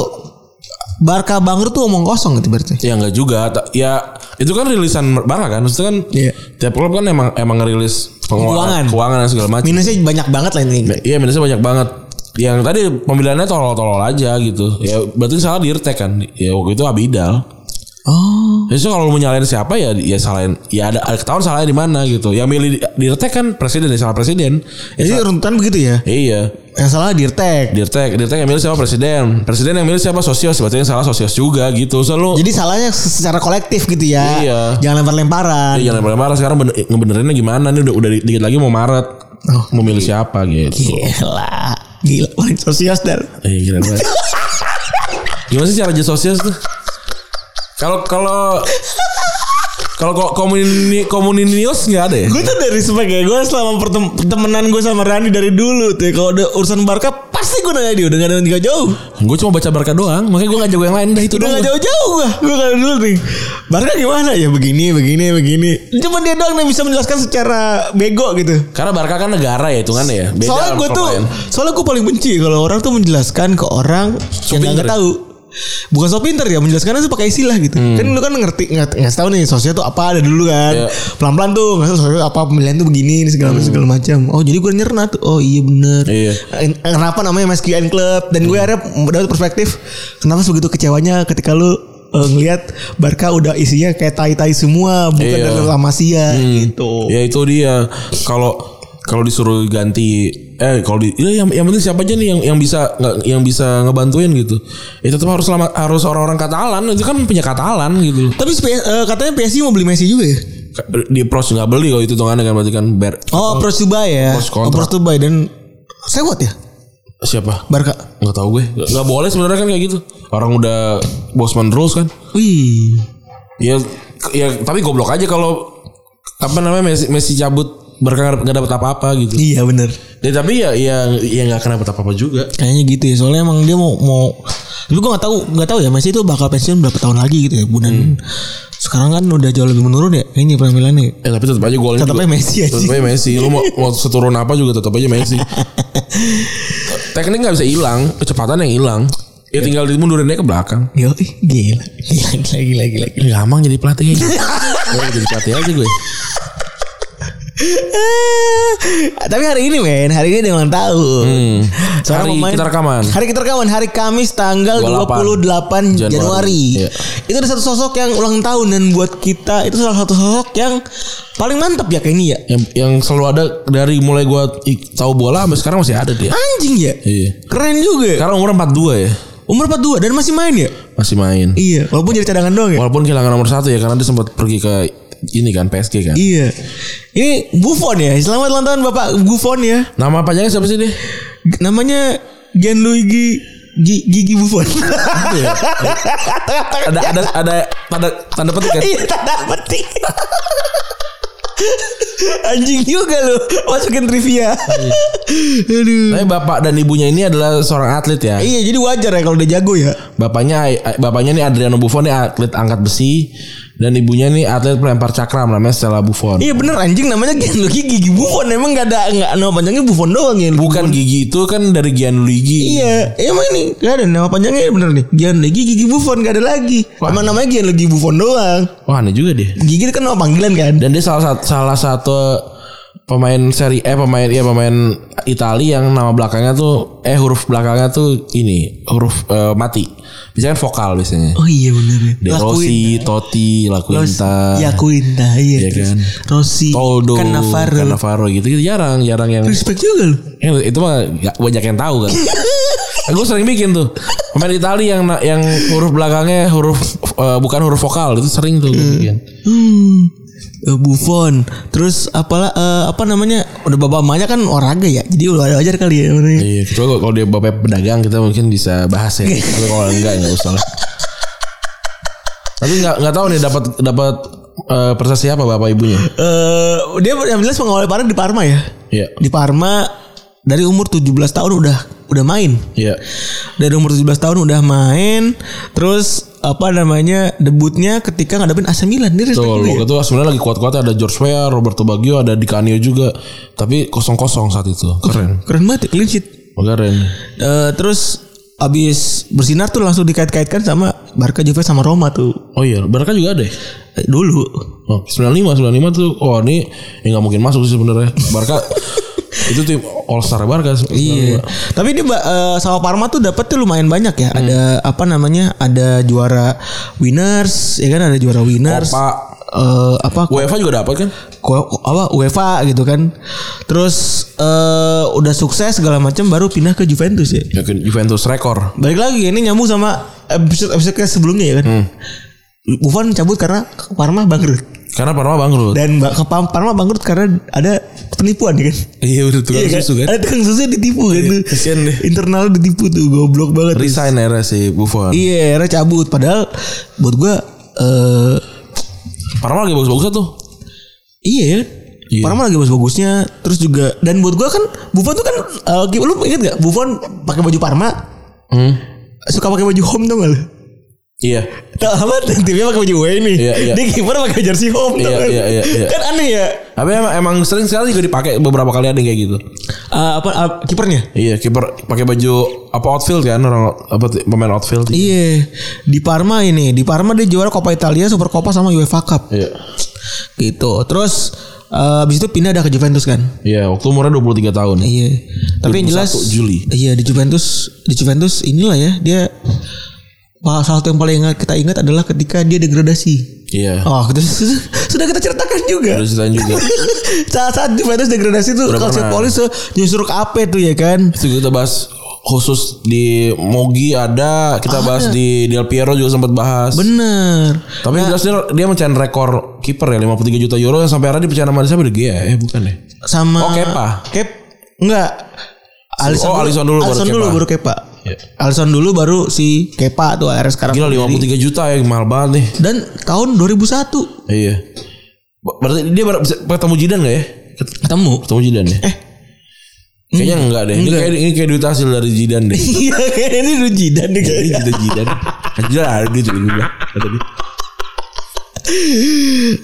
Barca bangkrut tuh omong kosong gitu berarti.
Ya enggak juga. Ta- Ya itu kan rilisan Barca kan. Maksudnya kan
Iya.
tiap klub kan emang emang ngerilis
Keuangan.
pengeluaran, keuangan dan segala macam.
Minusnya banyak banget lah ini.
Iya minusnya banyak banget. Yang tadi pemilihannya tolol-tolol aja gitu. Ya berarti salah di Irtek kan. Ya waktu itu Abidal.
Oh.
Jadi kalau lu mau nyalain siapa ya ya salahin ya ada, ada ketahuan salahnya di mana gitu. Yang milih di- di Irtek kan presiden ya salah presiden. Ya,
Jadi runtutan begitu ya.
iya.
Yang salah Dirtek.
Dirtek, Dirtek yang milih siapa presiden. Presiden yang milih siapa sosios. Berarti yang salah sosios juga gitu. So lu
Jadi salahnya secara kolektif gitu ya.
Iya.
Jangan lempar-lemparan.
Iya, jangan pada marah sekarang bener, ngebenerinnya gimana nih udah udah di- dikit lagi mau Maret.
Oh.
mau milih siapa gitu.
Gila. Gila paling sosial dan
Eh, gila banget. Gimana sih cara jadi sosial tuh? Kalau kalau kalau kok komuni komuninius nggak ada ya?
Gue tuh dari sebagai gue selama pertem- pertemanan gue sama Rani dari dulu tuh kalau ada urusan Barca pasti gue nanya dia udah gak ada nggak jauh
Gue cuma baca Barca doang, makanya gue nggak jago yang lain dah itu
udah
doang.
gak jauh-jauh gue gue kalau dulu nih Barca gimana ya begini begini begini cuma dia doang yang bisa menjelaskan secara bego gitu
Karena Barca kan negara ya hitungannya ya. Beda
soalnya
sama
gue
klub
tuh
lain.
soalnya gue paling benci kalau orang tuh menjelaskan ke orang yang
pinter
nggak
ya?
tahu bukan so pinter ya menjelaskannya tuh pakai istilah gitu kan lu kan ngerti nggak nggak tahu nih sosial tuh apa ada dulu kan
Hmm. Iya. Hmm.
pelan pelan tuh nggak tahu sosial apa pemilihan tuh begini ini segala segala macam oh jadi gue nyerna tuh oh iya bener
Iya. Hmm.
En- kenapa namanya MSQN Club dan gue akhirnya dapat perspektif kenapa sebegitu kecewanya ketika lu eh, ngelihat Barca udah isinya kayak tai-tai semua bukan
Iya.
dari La Masia gitu
Ya itu dia. Kalau kalau disuruh ganti eh kalau di ya, yang yang penting siapa aja nih yang yang bisa nggak- yang bisa ngebantuin gitu. Ya tetap harus lama, harus orang-orang Katalan itu kan punya Katalan gitu.
Tapi PS- eh, katanya PSG mau beli Messi juga ya?
Di pros nggak beli kalau itu hitungannya kan berarti kan ber
Oh, approach to buy ya.
Approach kontrak.
Approach to buy dan sewot ya?
siapa?
Barca.
Nggak tahu gue. Nggak nggak boleh sebenarnya kan kayak gitu. Orang udah Bosman rules kan.
Wih.
Ya ya tapi goblok aja kalau apa namanya Messi, Messi cabut berkar nggak dapat apa-apa gitu.
Iya bener
Ya, tapi ya ya ya nggak akan dapat apa-apa juga.
Kayaknya gitu ya. Soalnya emang dia mau mau tapi gue gak tahu nggak tahu ya Messi itu bakal pensiun berapa tahun lagi gitu ya. Dan sekarang kan udah jauh lebih menurun ya kayaknya penampilannya. ya.
Ya tapi tetap aja golnya
Tetap
juga-
aja Messi aja.
Tetap aja Messi. Lu mau, mau seturun apa juga tetap aja Messi. Teknik nggak bisa hilang, kecepatan yang hilang. Ya tinggal dimundurinnya ke belakang.
Yo, ih, gila. Gila gila gila gila.
Ini gampang jadi pelatih aja. Gue jadi pelatih aja gue.
Ah, Tapi hari ini men, hari ini dia ulang tahun. Seorang
Hmm. Hari
pemain-
kita rekaman.
Hari kita rekaman hari Kamis tanggal 28
28
Januari.
Januari. Iya.
Itu ada satu sosok yang ulang tahun dan buat kita itu salah satu sosok yang paling mantap ya kayak ini ya.
Yang yang selalu ada dari mulai gue tahu bola sampai sekarang masih ada dia.
Anjing ya.
Iya.
Keren juga. ya.
Sekarang umur 42 ya.
Umur 42 dan masih main ya?
Masih main.
Iya, walaupun jadi cadangan doang ya.
Walaupun kehilangan nomor satu ya karena dia sempat pergi ke ini kan PSG kan.
Iya. Ini Buffon ya. Selamat ulang tahun Bapak Buffon ya.
Nama panjangnya siapa sih dia?
G- Namanya Gianluigi Gi- Gigi Buffon. Iya.
Ada ada ada tanda tanda petik kan?
Iya tanda petik. Anjing juga lu masukin trivia. Aduh.
Tapi bapak dan ibunya ini adalah seorang atlet ya.
Iya jadi wajar ya kalau udah jago ya.
Bapaknya eh, bapaknya nih Adriano Buffon nih atlet angkat besi dan ibunya nih atlet pelempar cakram namanya Stella Buffon.
Iya bener anjing namanya Gianluigi Gigi Buffon emang gak ada nggak nama panjangnya Buffon doang ya.
Bukan gigi itu kan dari Gianluigi.
Iya, emang ini gak ada nama panjangnya iya, bener nih. Gianluigi Gigi Buffon gak ada lagi. Emang namanya Gianluigi Buffon doang.
Wah aneh juga dia.
Gigi kan nama panggilan kan.
Dan dia salah satu salah satu pemain seri eh pemain ya pemain Italia yang nama belakangnya tuh eh huruf belakangnya tuh ini huruf eh, mati. Biasanya kan vokal biasanya.
Oh iya bener
De
ya.
Rossi, Totti, Laquinta,
Ya Quinta iya.
Iya kan.
Rossi.
Toldo,
Cannavaro.
Cannavaro gitu, gitu jarang jarang yang
Respect juga lu.
Ya, itu mah gak banyak yang tahu kan. gue sering bikin tuh pemain Italia yang yang huruf belakangnya huruf eh, bukan huruf vokal itu sering tuh gua bikin.
Hmm. Eh, Buffon. Terus apalah eh, apa namanya? Udah bapak emaknya kan olahraga ya. Jadi udah wajar kali ya. namanya.
Iya, kecuali kalau- kalau dia bapak pedagang kita mungkin bisa bahas ya. Tapi kalau enggak enggak usah lah. Tapi enggak enggak tahu nih dapat dapat eh, prestasi apa bapak ibunya.
Eh, dia yang jelas mengawali karir di Parma ya.
Iya.
Di Parma dari umur 17 tahun udah udah main.
Iya.
Dari umur 17 tahun udah main. Terus apa namanya? Debutnya ketika ngadepin AC Milan. Dia respect
Tuh,
dulu ya.
waktu itu sebenarnya lagi kuat-kuatnya ada George Weah, Roberto Baggio, ada Di Canio juga. Tapi kosong-kosong saat itu. Keren.
Keren banget ya, clean sheet.
Keren.
Eh, terus abis bersinar tuh langsung dikait-kaitkan sama Barca Juve sama Roma tuh.
Oh iya, Barca juga ada ya?
Eh, dulu
Oh, 95 95 tuh oh ini ya nggak mungkin masuk sih sebenarnya. Barca itu tim All Star Barca.
Iya. Tapi dia ba- eh, sama Parma tuh dapetnya lumayan banyak ya. Ada
Hmm.
apa namanya? Ada juara winners, ya kan ada juara winners.
Copa.
Eh, apa
UEFA juga dapat kan?
ko- ko- apa UEFA gitu kan. Terus eh udah sukses segala macam baru pindah ke Juventus ya.
Ya, ke Juventus rekor.
Balik lagi ini nyambung sama episode episode sebelumnya ya kan.
Hmm.
Buffon cabut karena Parma bangkrut
Karena Parma bangkrut.
dan ba- ke Pam- Parma bangkrut karena ada penipuan ya kan.
Iya udah tukang
Iya kan?
susu kan.
Ada tukang susu yang ditipu kan. tuh.
kasihan deh.
Internal ditipu tuh goblok banget. tuh.
Resign era si Buffon.
Iya, era cabut. Padahal buat gua eh
Parma lagi bagus-bagus tuh.
iya ya.
Iya.
Parma lagi bagus-bagusnya terus juga dan buat gua kan Buffon tuh kan eh, gi- lu inget gak Buffon pakai baju Parma
Hmm.
suka pakai baju home dong lu.
Iya.
Tahu apa timnya pakai baju away nih.
Iya, iya.
Dia kiper pakai jersey home
Iya,
tau kan.
iya, iya, iya.
Kan aneh ya.
Tapi emang, emang sering sekali juga dipakai beberapa kali ada yang kayak gitu.
Eh, apa eh, kipernya?
Iya, kiper pakai baju apa outfield kan orang apa t- pemain outfield.
Iya, di Parma ini, di Parma dia juara Coppa Italia, Supercoppa sama UEFA Cup.
Iya.
Gitu. Terus eh, abis itu pindah dah ke Juventus kan.
Iya, waktu umurnya 23 tahun.
Iya. Tapi yang jelas
21 Juli.
Iya di Juventus di Juventus inilah ya dia Wah, salah satu yang paling ingat- kita ingat adalah ketika dia degradasi.
Iya.
Oh, itu su- sudah kita ceritakan juga.
Sudah ceritain juga.
Saat-saat Juventus degradasi tuh
Udah
Calcio
ya. pernah.
Polis tuh nyusur ke apa tuh ya kan?
Itu kita bahas khusus di Mogi ada, kita bahas di Del Piero juga sempat bahas.
Bener. Nah.
Tapi yang jelas dia, dia mencain rekor kiper ya 53 juta euro yang sampai akhirnya dipecahin sama siapa De Gea ya bukan ya.
Sama
Oh, Kepa.
Kep enggak. Alisson
Oh, Alisson dulu baru
Alisson dulu
Kepa.
baru Kepa.
Iya.
Alisson dulu baru si Kepa tuh akhirnya sekarang.
Gila
sendiri.
53 juta ya mahal banget nih.
Dan tahun 2001
Iya. Ber- Berarti dia ber- bisa ketemu Jidan gak ya?
ketemu.
Ketemu Jidan ya? Eh. Kayaknya enggak deh. Ini kayak ini kayak duit hasil dari Jidan deh.
Iya kayaknya ini Rujidan nih
Ini
kayaknya.
Jidan Jidan. Kan Jidan ada duit juga gua bilang. Kata dia.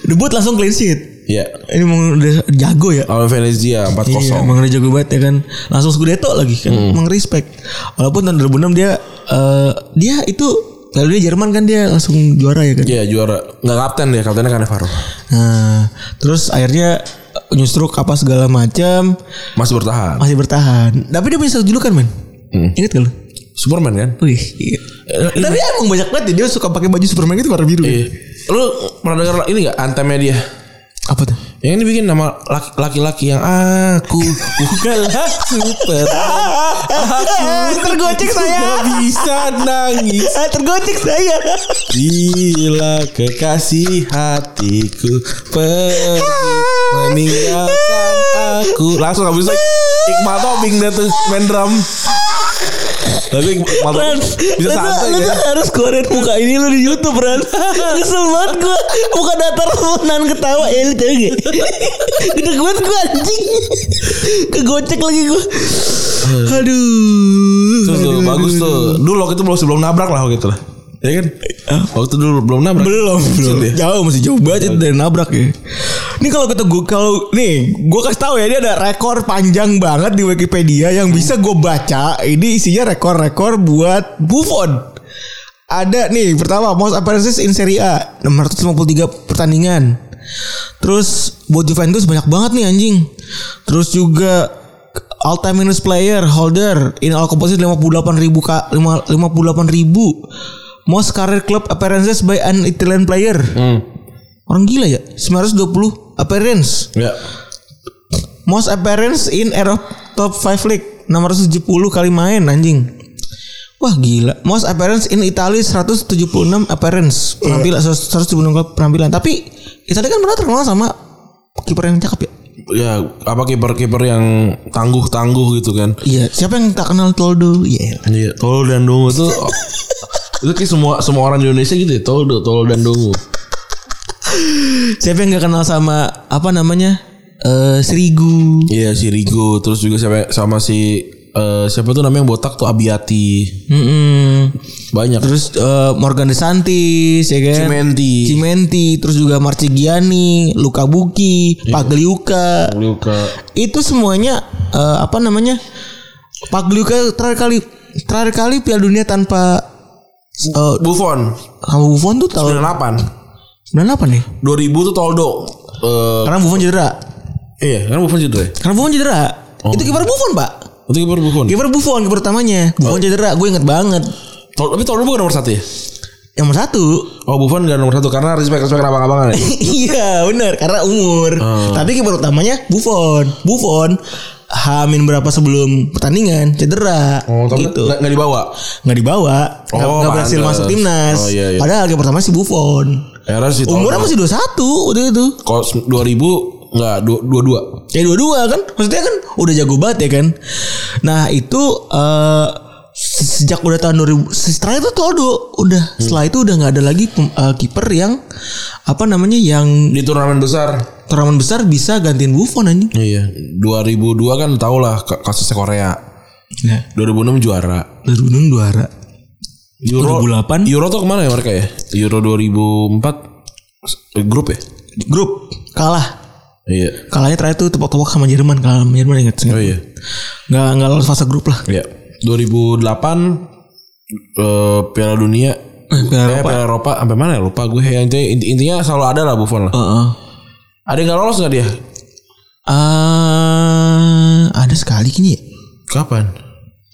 Debut langsung clean sheet.
Iya.
Ini emang udah jago ya.
Lawan Venezia 4-0.
Iya, emang dia jago banget ya kan. Langsung Scudetto lagi kan. Emang respect. Walaupun tahun 2006 dia eh, dia itu lalu dia Jerman kan dia langsung juara ya kan.
Iya juara. Enggak kapten dia, kaptennya Cannavaro.
Nah, terus akhirnya eh, nyustruk apa segala macam
Masih bertahan.
masih bertahan. Tapi dia punya satu julukan, men. Ingat gak lu?
Superman kan?
Hmm. Wih, iya. Tapi emang banyak banget ya, dia suka pakai baju Superman itu warna biru.
Iya.
Kan?
Lu pernah dengar ini enggak antemnya dia?
Apa tuh?
Yang ini bikin nama laki- laki-laki yang aku bukanlah super.
Ah, tergocek
Gak bisa nangis
Ah, tergocek saya.
Bila kekasih hatiku pergi meninggalkan aku langsung habis itu Iqbal Tobing dia tuh main drum tapi Iqbal
Ran,
Tobing bisa
lu tuh-
santai
lu
ya
tuh harus keluarin muka ini lu di YouTube Ran. Kesel banget gua. Muka datar menan ketawa ya lu tahu gak? Gede banget gua anjing. Kegocek lagi gua. Aduh.
Terus tuh
aduh,
bagus
aduh.
tuh dulu waktu itu belum sebelum nabrak lah waktu itu lah ya kan waktu dulu belum nabrak
Belum, belum.
Maksudnya?
Jauh masih jauh banget itu dari nabrak ya. Ini kalau kita gua kalau nih gua kasih tahu ya dia ada rekor panjang banget di Wikipedia yang bisa gua baca. Ini isinya rekor-rekor buat Buffon. Ada nih pertama most appearances in Serie A 653 pertandingan. Terus buat Juventus banyak banget nih anjing. Terus juga all time minus player holder in all competition 58 ribu 58 ribu most career club appearances by an Italian player
hmm.
orang gila ya 920 appearance
ya
most appearance in Europe top 5 league 670 kali main anjing Wah gila Most appearance in Italy 176 appearance Penampilan 176 kali penampilan Tapi Italia kan pernah terkenal sama kiper yang cakep ya
ya apa kiper-kiper yang tangguh-tangguh gitu kan
Iya Siapa yang tak kenal Toldo Iya
Iya, tol dan dungu tuh itu kayak semua semua orang di Indonesia gitu ya, tol, tol dan dungu.
Siapa yang gak kenal sama apa namanya? Eh Serigu.
Iya, si Rigo, terus juga siapa sama si eh, siapa tuh namanya yang botak tuh Abiati.
Mm-mm.
Banyak.
Terus eh, Morgan DeSantis ya kan?
Cimenti.
Cimenti, terus juga Marcigiani, Luka Buki, Pagliuca.
Luka.
Itu semuanya eh, apa namanya? Pagliuca terakhir kali terakhir kali Piala Dunia tanpa eh,
Buffon
sama Buffon tuh tahun
98.
98 nih.
2000 tuh Toldo. Eh
Karena Buffon cedera. Oh.
iya, kan Buffon cedera. ya?
Karena Buffon cedera. Itu kiper Buffon, Pak.
Itu kiper Buffon.
Kiper Buffon kiper utamanya. Buffon cedera, gue inget banget.
Tol- tapi Toldo bukan nomor satu ya?
Yang nomor satu
Oh, Buffon gak nomor satu karena respect respect abang-abangan ya.
Iya benar Karena umur
Oh.
Tapi kiper utamanya Buffon Buffon Hamin berapa sebelum pertandingan Cedera
Oh, tapi
Gitu
nggak nggak dibawa.
Nggak dibawa nggak
Oh,
nggak berhasil
pantes.
masuk timnas
Oh, iya, iya.
Padahal kiper pertama si Buffon
Era si Toldo.
Umurnya masih 21 Waktu itu
Kalau 2000 enggak 22.
Ya dua-dua kan Maksudnya kan Udah jago banget ya kan Nah itu eh se- Sejak udah tahun 2000 se- Setelah itu Toldo Udah
Hmm.
Setelah itu udah nggak ada lagi pem- eh, Kiper yang Apa namanya Yang
di turnamen besar.
turnamen besar bisa gantiin Buffon anjing.
Iya, 2002 kan tau lah ka- kasusnya Korea.
Ya.
2006 juara.
2006 juara.
Euro
2008.
Euro tuh kemana ya mereka ya? Euro 2004 s- eh, grup ya?
Grup kalah.
Iya.
Kalahnya terakhir tuh tepok-tepok sama Jerman, kalah sama Jerman ingat.
Oh
Nggak
iya.
nggak lolos fase grup lah.
Iya. 2008 eh, Piala Dunia
Eh, Piala
Eh, Piala Eropa sampai mana ya? Lupa gue. Ya, intinya, inti- intinya selalu ada lah Buffon lah.
Heeh.
Ada yang gak lolos gak dia?
Eh, ada sekali kini ya.
Kapan?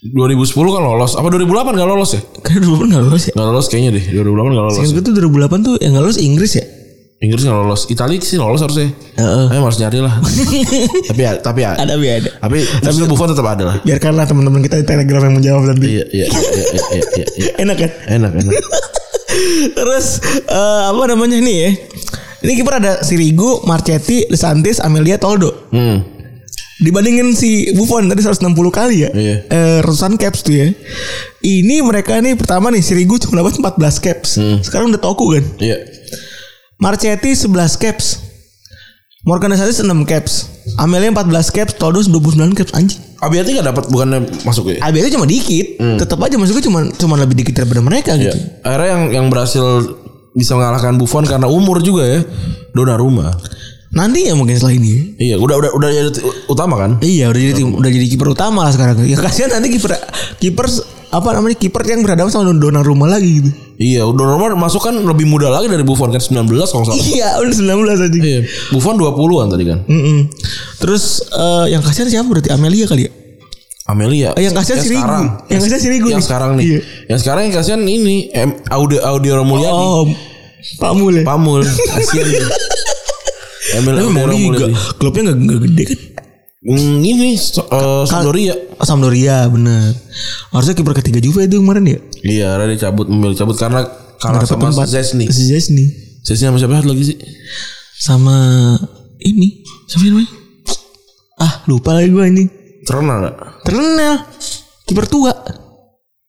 2010 kan lolos. Apa 2008 gak lolos ya?
Kayaknya 2008 nggak lolos ya.
Gak lolos kayaknya deh. 2008 gak lolos.
Ingat gue tuh 2008 tuh yang nggak lolos Inggris ya.
Inggris nggak lolos, Italia sih lolos harusnya.
Heeh.
Eh, harus nyari lah. tapi ya- tapi ya-
Ada biar ada.
tapi tapi Buffon tetap ada lah.
Biarkanlah teman-teman kita di Telegram yang menjawab nanti.
Iya iya iya iya iya. iya, iya.
Enak kan?
Enak enak.
Terus eh, apa namanya nih ya? Ini kiper ada Sirigu, Marchetti, Desantis, Amelia, Toldo.
Hmm.
Dibandingin si Buffon tadi 160 kali ya.
Iya.
Eh, ratusan caps tuh ya. Ini mereka nih pertama nih Sirigu cuma dapat 14 caps.
Hmm.
Sekarang udah toku kan.
Iya.
Marchetti 11 caps. Morgan Desantis 6 caps. Amelia 14 caps, Toldo 29 caps anjing.
Abiati nggak dapat bukannya masuk ya?
ABS cuma dikit, tetap aja maksudnya cuma cuma lebih dikit daripada mereka
Hmm. Iya.
gitu.
Akhirnya yang yang berhasil bisa mengalahkan Buffon karena umur juga ya. Donnarumma.
Nanti ya mungkin setelah ini. ya.
Iya, udah udah udah jadi ut- utama kan?
Iya udah jadi tim, udah jadi kiper utama lah sekarang. Ya kasihan nanti kiper kiper apa namanya kiper yang berhadapan sama donor rumah lagi gitu.
Iya, Donnarumma masuk kan lebih muda lagi dari Buffon kan 19 kalau nggak salah.
Iya udah 19 aja.
Iya. Buffon 20-an tadi kan.
Mm-mm. Terus eh, yang kasihan siapa berarti Amelia kali ya?
Amelia.
Eh, yang kasihan Sirigu.
sekarang.
Yang kasihan Sirigu
Yang
nih.
sekarang nih.
Iya.
Yang sekarang yang kasihan ini em, Audio Audio Mulyadi.
Oh, Pak Mule.
Pamul. Kasihan. dia. Emil
Tapi
Audio
Mule juga
Mulyadi.
klubnya nggak nggak gede kan?
Hmm, ini so- eh, Sampdoria.
Oh, Sampdoria bener. Harusnya kiper ketiga Juve itu kemarin ya?
Iya, akhirnya dia cabut memilih cabut karena kalah
Nggak dapat
sama
tempat.
Zesni.
Si Zesni.
Zesni sama siapa lagi sih?
Sama ini siapa sih namanya? Ah lupa lagi gue ini.
Cerna enggak?
Terkenal kiper tua.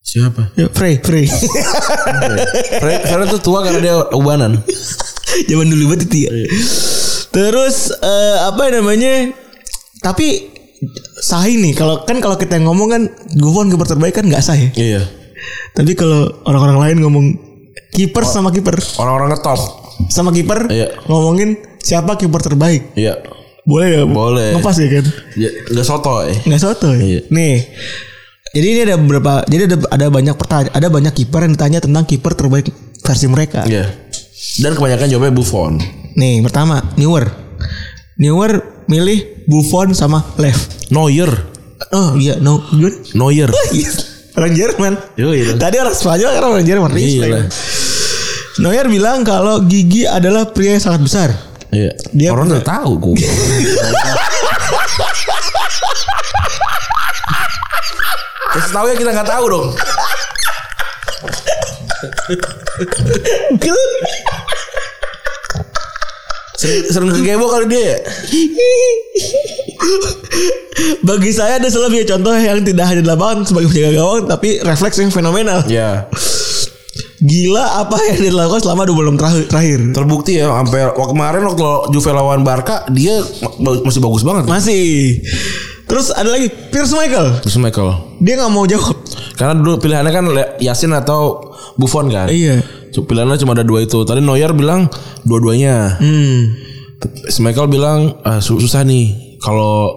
Siapa?
Ya, Frey, Frey.
Fred Fred tuh tua karena dia ubanan.
Zaman dulu banget itu ya.
Iya.
Terus eh, apa namanya? Tapi sah ini kalau kan kalau kita yang ngomong kan Gufon kiper terbaik kan nggak sah ya.
Iya.
Tapi kalau orang-orang lain ngomong kiper sama kiper
Orang-orang ngetop.
sama kiper
Iya.
ngomongin siapa kiper terbaik.
Iya.
Boleh ya?
Boleh.
Ngepas ya kan?
Ya, Nggak sotoy.
Nggak soto ya.
Iya.
Nih. Jadi ini ada beberapa jadi ada ada banyak pertanyaan, ada banyak kiper yang ditanya tentang kiper terbaik versi mereka.
Iya. Dan kebanyakan jawabnya Buffon.
Nih pertama Newer Newer milih Buffon sama Lev
Neuer.
Oh iya no Gimana?
Neuer.
Orang Jerman
Yoi, dong.
Tadi orang Spanyol kan orang Jerman Respect.
Gila.
Neuer bilang kalau Gigi adalah pria yang sangat besar
Iya.
Dia
Orang udah tahu gue. Kasih tahu ya kita nggak tahu dong. Sering, sering kegebo kali dia ya.
Bagi saya ada selalu punya contoh yang tidak hanya di lapangan sebagai penjaga gawang Tapi refleks yang fenomenal
Iya.
Gila apa yang dia lakukan selama 2 bulan terakhir, terakhir.
Terbukti ya sampai waktu kemarin waktu Juve lawan Barca dia ma- masih bagus banget.
Masih Terus ada lagi Pierce Michael
Terus Michael.
Dia nggak mau jawab
Karena dulu pilihannya kan Le- Yasin atau Buffon kan.
Iya
Cuk- Pilihannya cuma ada dua itu. Tadi Neuer bilang dua-duanya.
hmm.
Si Michael bilang "Ah, su- susah nih. Kalau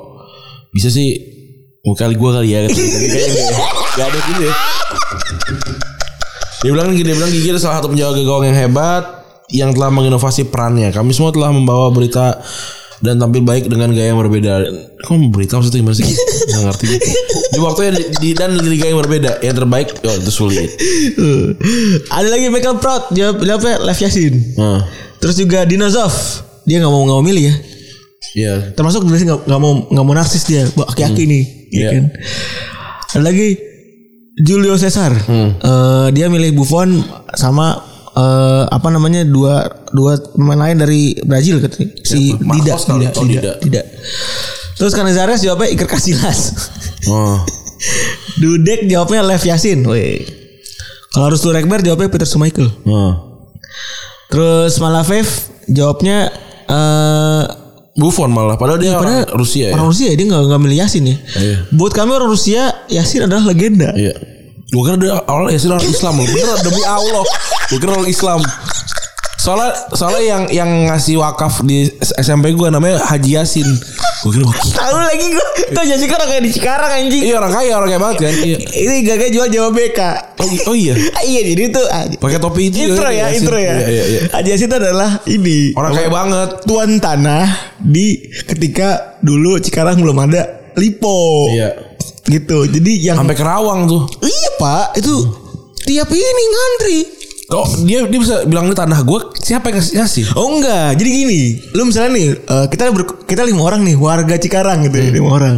bisa sih mau kali gue kali ya. Gak ada gitu ya. Dia bilang gini, dia bilang Gigi adalah salah satu penjaga gawang yang hebat yang telah menginovasi perannya. Kami semua telah membawa berita dan tampil baik dengan gaya yang berbeda. Kok berita maksudnya gimana sih? Gak ngerti. gue. Di waktu yang di, di- dan di liga yang berbeda, yang terbaik oh, itu sulit.
Eh, Ada lagi Michael Proud jawab jawabnya Lev Yasin.
Nah,
Terus juga Dinozov. Dia nggak mau nggak mau milih ya.
iya.
Termasuk dia nggak nggak mau nggak mau narsis dia. Wah, Aki-aki nih. Iya
Iya.
kan. Ada lagi Julio Cesar.
Hmm.
Eh, dia milih Buffon sama eh, apa namanya dua dua pemain lain dari Brazil katanya. Si
Siapa? Marcos
Dida,
kali ya?
Dida,
Oh,
Dida, Dida.
Dida.
Terus Canizares jawabnya Iker Casillas.
Oh.
Dudek jawabnya Lev Yasin. Weh. Kalau harus Rekber jawabnya Peter Schmeichel.
Oh.
Terus Malavev jawabnya eh
Buffon malah padahal dia
padahal
orang Rusia ya.
orang Rusia ya, dia nggak nggak milih Yasin ya.
Iya.
Buat kami orang Rusia Yasin adalah legenda.
Iya. Gue kira dia awal Yasin orang Islam loh. Bener demi Allah. Gue kira orang Islam. Soalnya soalnya yang yang ngasih wakaf di SMP gue namanya Haji Yasin. Gue kira "Wah,
Tahu lagi gue tuh Yasin kan orang kayak di Cikarang anjing.
Iya orang kaya orang kaya banget kan. Iya.
Ini gagah jual jawab BK.
Oh, i- oh iya.
Ah, iya jadi tuh ah,
Pakai topi itu.
intro
kan,
ya,
Yasin.
intro ya.
Iya, iya, iya.
Haji Yasin itu adalah ini
Orang kaya banget.
tuan tanah di ketika dulu Cikarang belum ada Lipo.
Iya.
Gitu. Jadi yang
Sampai ke Rawang tuh.
Iya pak, itu tiap ini ngantri.
Kok dia dia bisa bilang ini tanah gue siapa yang ngasih? ngasih?
Oh enggak, jadi gini, lu misalnya nih, eh, kita ber- kita lima orang nih, warga Cikarang gitu, ya, lima orang.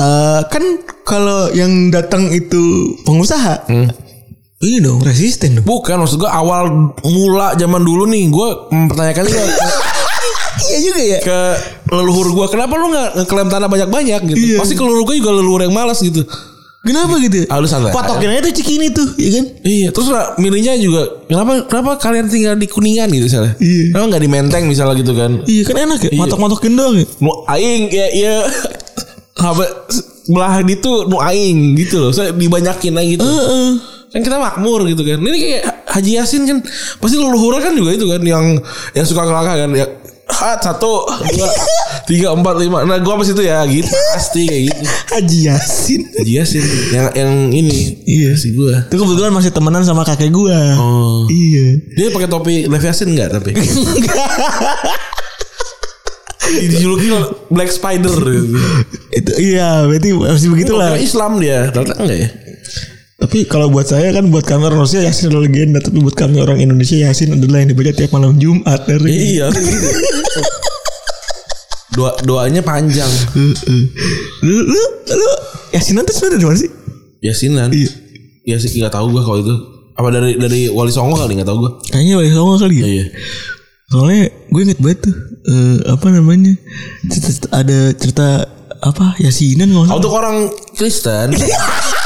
Eh kan kalau yang datang itu pengusaha, ini dong resisten dong.
Bukan maksud gue awal mula zaman dulu nih gue mempertanyakan ini ke,
Iya juga ya.
ke leluhur gue kenapa lu nggak ngeklaim tanah banyak banyak
Iya.
gitu? Pasti ke leluhur gue juga leluhur yang malas gitu.
Kenapa gitu?
Ah, lu santai.
Patokin aja tuh Cikini tuh, ya kan?
Iya, terus lah, milihnya juga kenapa kenapa kalian tinggal di Kuningan gitu misalnya?
Iya.
Kenapa nggak di Menteng misalnya gitu kan?
Iya kan enak ya, matok-matokin doang ya.
Nu aing ya ya apa belah di tuh nu aing gitu loh. Saya dibanyakin aja gitu. Kan kita makmur gitu kan. Ini kayak Haji Yasin kan pasti leluhur kan juga itu kan yang yang suka ngelangkah kan ya ah, satu dua tiga empat lima nah gua pas itu ya gitu pasti kayak gitu
Haji Yasin.
Haji Yasin yang yang ini
Iya.
si gua
Itu kebetulan masih temenan sama kakek gua.
oh
Iya.
Dia pakai topi Levi Yasin enggak tapi? Dijuluki Black Spider gitu.
Itu iya, berarti masih begitulah.
Kira Islam dia. Ternyata enggak ya?
Tapi kalau buat saya kan buat kami orang Rusia Yasin adalah legenda Tapi buat kami orang Indonesia Yasin adalah yang dibaca tiap malam Jumat ya, dari
Iya. Doa doanya panjang.
Lu, lu, lu Yasinan tuh sebenernya dari mana sih?
Yasinan.
Iya.
Ya sih enggak tahu gua kalau itu. Apa dari dari Wali Songo kali enggak tahu gua.
Kayaknya wali songo kali ya
Iya.
Soalnya gue inget banget tuh eh, Apa namanya Cerita- Ada cerita apa Yasinan kalau nggak salah.
Nah, Untuk orang Kristen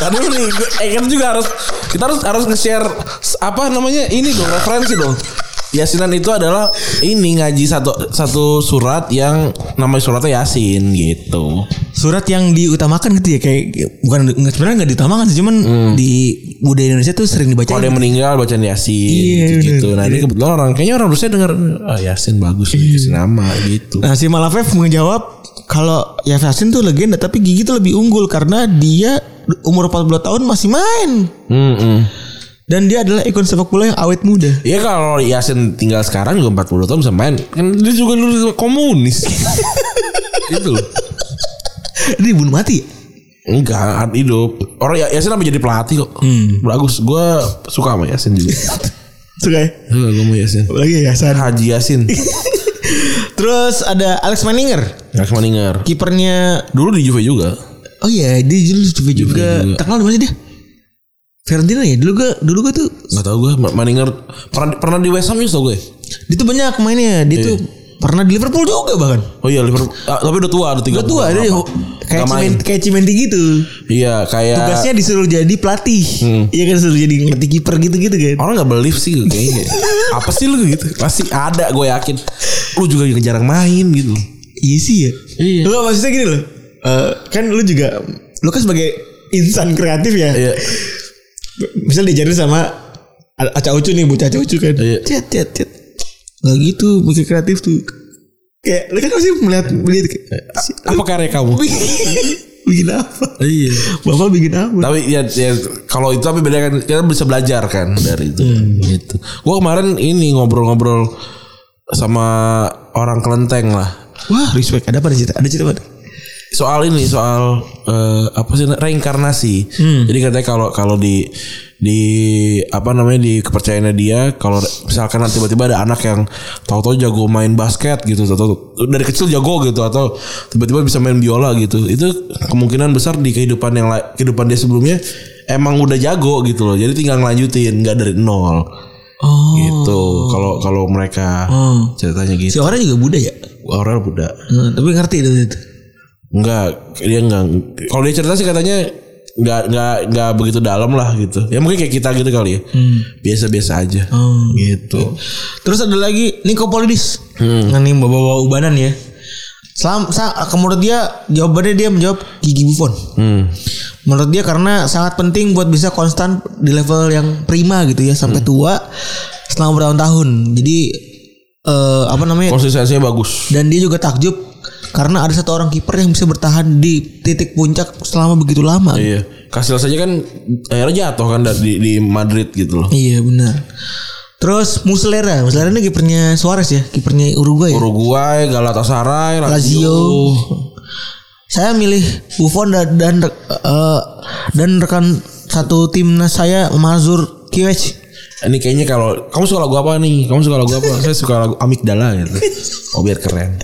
Karena nih gue- eh, kan juga harus Kita harus harus nge-share s- Apa namanya Ini dong referensi dong Yasinan itu adalah ini ngaji satu satu surat yang nama suratnya Yasin gitu.
Surat yang diutamakan gitu ya Kayak Bukan nggak- sebenarnya nggak diutamakan sih Cuman di budaya Indonesia tuh sering dibaca
Kalau ada yang meninggal bacaan Yasin
Iya,
gitu. Nah, ini kebetulan orang kayaknya orang Rusia dengar ah, Yasin bagus dikasih nama gitu.
Nah si Malafev menjawab kalau ya Yasin tuh legenda tapi Gigi tuh lebih unggul karena dia umur 14 tahun masih main
Mm-mm.
dan dia adalah ikon sepak bola yang awet muda.
Iya kalau Yasin tinggal sekarang juga 40 tahun bisa main. Kan dia juga dulu komunis. gitu loh.
Dia dibunuh mati. ya?
Enggak, hidup. Orang Ya- Yasin sampai jadi pelatih kok. Bagus, gue suka sama Yasin juga.
Suka ya?
Suka gue sama Yasin.
Lagi ya San.
Haji Yasin.
Terus ada Alex Manninger,
Rex Maninger.
kipernya.
Dulu di Juve juga.
Oh iya, dia dulu juga juga
juga.
terkenal di mana sih dia? Fiorentina ya. Dulu gue dulu gue tuh
Gak tau gue, Maninger pernah, pernah di West Ham News tau ya? gue.
dia tuh banyak mainnya. Dia tuh pernah di Liverpool juga bahkan.
Oh iya Liverpool. Ah, tapi udah tua, udah tiga.
Gue tua dia kayak
Nggak main.
Cimenti, kayak Cimenti gitu.
Iya, kayak
tugasnya disuruh jadi pelatih iya kan disuruh jadi ngerti kiper gitu gitu kan
orang nggak believe sih gue kayaknya. Apa sih lu gitu? Pasti ada, gue yakin. Lu juga yang jarang main gitu.
iya sih ya lo maksudnya gini loh Eh, kan lu juga lu kan sebagai insan kreatif ya
Iya.
misal diajarin sama A- Aca Ucu nih bocah Aca Ucu kan
Iya.
Cet, cet, cet. nggak gitu mikir kreatif tuh kayak lu kan pasti melihat melihat kayak, si-
Apa karya kamu?
bikin apa
Iya.
bapak bikin apa
tapi ya, ya kalau itu tapi beda kan kita bisa belajar kan dari itu gitu gue kemarin ini ngobrol-ngobrol sama orang kelenteng lah
wah respect ada apa ada cerita ada cerita apa
soal ini soal eh, apa sih reinkarnasi jadi katanya kalau kalau di di apa namanya di kepercayaannya dia kalau re- misalkan nanti tiba-tiba ada anak yang tahu-tahu jago main basket gitu atau dari kecil jago gitu atau tiba-tiba bisa main biola gitu itu kemungkinan besar di kehidupan yang la- kehidupan dia sebelumnya emang udah jago gitu loh jadi tinggal ngelanjutin nggak dari nol
Oh.
gitu kalau kalau mereka ceritanya
si
gitu
orang juga Buddha ya
orang budak
Oh. Hmm, tapi ngerti itu, itu.
Enggak, dia enggak. Kalau dia cerita sih katanya enggak enggak enggak begitu dalam lah gitu. Ya mungkin kayak kita gitu kali ya.
Hmm.
Biasa-biasa aja. Gitu. Hmm.
Terus ada lagi Niko Polidis. Nah, ini bawa-bawa ubanan ya. Selam, sa, menurut dia jawabannya dia menjawab gigi Buffon.
Hmm.
Menurut dia karena sangat penting buat bisa konstan di level yang prima gitu ya
Hmm.
sampai tua selama bertahun-tahun. Jadi eh, apa namanya?
Konsistensinya bagus.
Dan dia juga takjub karena ada satu orang kiper yang bisa bertahan di titik puncak selama begitu lama.
Iya. Kasil saja kan akhirnya jatuh kan dari- di, di Madrid gitu loh.
Iya benar. Terus Muslera, Muslera ini kipernya Suarez ya, kipernya Uruguay. Ya?
Uruguay, Galatasaray,
Lazio. Saya milih Buffon dan dan, eh, dan rekan satu timnas saya Mazur Kiwech.
ini kayaknya kalau kamu suka lagu apa nih? Kamu suka lagu apa? Saya suka lagu Amigdala gitu. Oh biar keren.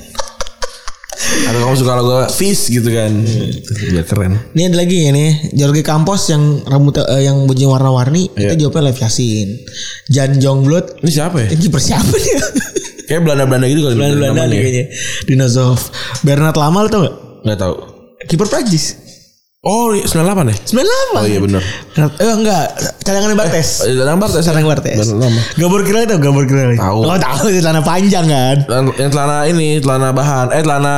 Atau kamu suka lagu Fish gitu kan?
Iya.
Biar keren.
Ini ada lagi ya nih, Jorge Campos yang rambut eh, yang bajunya warna-warni
Iya.
itu jawabnya Lev Yasin. Jan Jongbloed
Ini siapa ya?
ini kiper siapa dia?
Kayak Belanda-Belanda gitu kali.
Belanda nih kayaknya. Dinozov. Bernard Lamal tau gak?
Enggak tahu.
Kiper Prancis.
Oh, 98 ya?
98.
Oh iya benar.
Bernard- Eh enggak, cadangan Bartes.
Eh, Danang Bartes.
Cadangan Bartes.
Benar, lama.
Gabor Kirali tau Gabor Kirali.
Tahu.
Oh tahu celana panjang kan.
Telan- yang celana ini celana bahan eh celana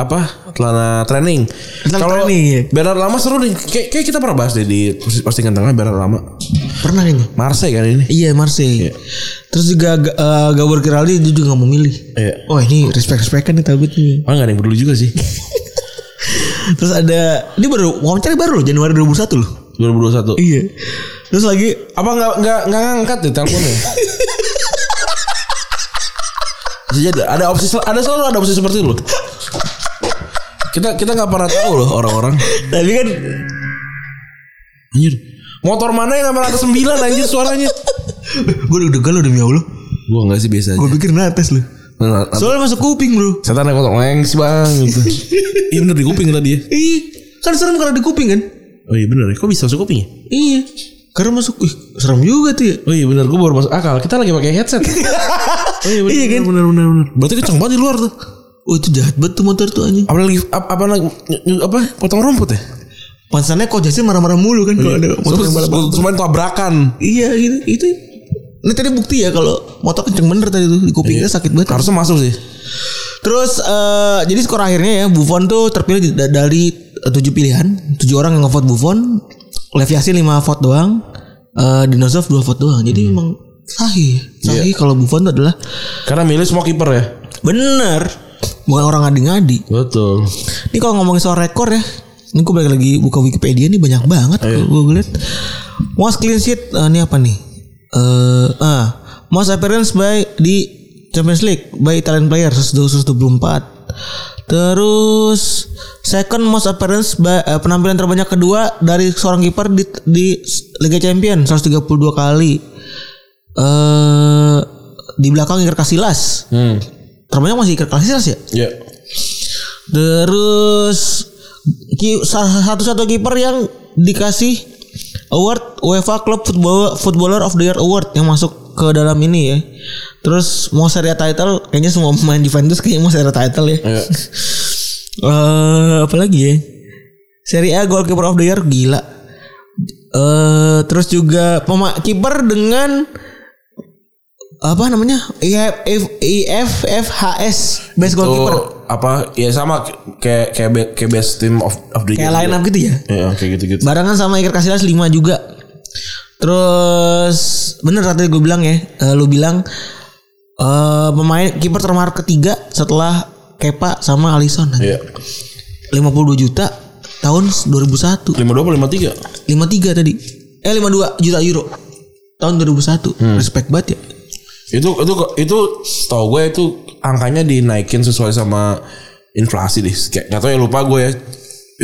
apa celana training
Celana training, iya.
Bernard Lama seru nih kayak, kayak kita pernah bahas deh di postingan tengah Bernard Lama
Pernah ini.
Marseille kan ini
Iya Marseille. Terus juga eh, Gabor Kirali dia juga gak mau milih.
Iya.
Oh ini respect-respectan nih Talbot nih.
Wah gak Ah, ada yang peduli juga sih
Terus ada ini baru wawancara baru loh Januari 2021 loh.
2021
Iya. Terus lagi
apa nggak nggak nggak ngangkat deh teleponnya Bisa jadi ada opsi sel- ada selalu ada opsi seperti itu loh kita kita nggak pernah tahu loh orang-orang
tapi kan
anjir motor mana yang nomor atas 9 anjir suaranya
gue udah degan loh demi Allah.
gua nggak sih biasa aja
Gue pikir nates loh.
Nah,
Soalnya masuk kuping bro.
Setan yang kotor lengs bang gitu. Iya bener di kuping tadi ya
Iya. Kan serem karena di kuping kan?
Oh iya bener ya Kok bisa masuk kuping ya?
Iya. Karena masuk ih serem juga tuh ya.
Oh iya bener Gue baru masuk akal Kita lagi pakai headset Oh iya bener
Iya kan?
bener, bener, bener. Berarti kenceng banget di luar tuh
Oh itu jahat banget tuh motor tuh anjing.
Apa lagi Apa, apa, lagi- ny- ny- apa Potong rumput ya
Pansannya kok jasnya marah-marah mulu
Iya.
kan kalau ada motor yang balap.
Cuma tabrakan
Iya gitu. Itu Nah tadi bukti ya kalau motor kenceng bener tadi tuh di kupingnya sakit banget.
Harusnya masuk sih
Terus eh, jadi skor akhirnya ya Buffon tuh terpilih da- dari eh, tujuh pilihan, tujuh orang yang ngevote Buffon, Lev Yassin lima vote doang, eh Dinozov dua vote doang. Jadi memang sahih, sahih kalau Buffon tuh adalah
Karena milih semua kiper ya
bener bukan orang ngadi-ngadi.
Betul
Ini kalau ngomongin soal rekor ya, ini gue balik lagi buka Wikipedia nih banyak banget gue lihat. Most clean sheet eh, ini apa nih? Eh ah, most appearance by di Champions League by Italian player 124. Terus second most appearance by eh, penampilan terbanyak kedua dari seorang kiper di, di Liga Champions 132 kali. Eh di belakang Iker Casillas.
Hmm
Terbanyak masih Iker Casillas ya?
Ya
Terus ki- sa- satu-satu kiper yang dikasih award UEFA Club Football Footballer of the Year Award yang masuk ke dalam ini ya. Terus mau seri A title kayaknya semua pemain Juventus kayaknya mau seri A title ya.
Iya.
Eh apalagi ya? Serie A Goalkeeper of the Year gila. Eh terus juga pema kiper dengan apa namanya? E IFF E IFFHS Best Goalkeeper.
Tuh Oh, apa ya sama kayak kayak be- kayak best team of of the
Kayak
year
line up gitu ya.
ya kayak gitu gitu
Barengan sama Iker Casillas 5 juga. Terus bener tadi gue bilang ya, eh, lu bilang eh pemain kiper termahal ketiga setelah Kepa sama Alisson.
Iya
52 juta tahun 2001.
52 apa 53
53 tadi. Eh 52 juta euro tahun 2001.
Hmm.
Respect banget ya.
itu itu itu tau gue itu angkanya dinaikin sesuai sama inflasi deh kayak nggak tahu ya lupa gue ya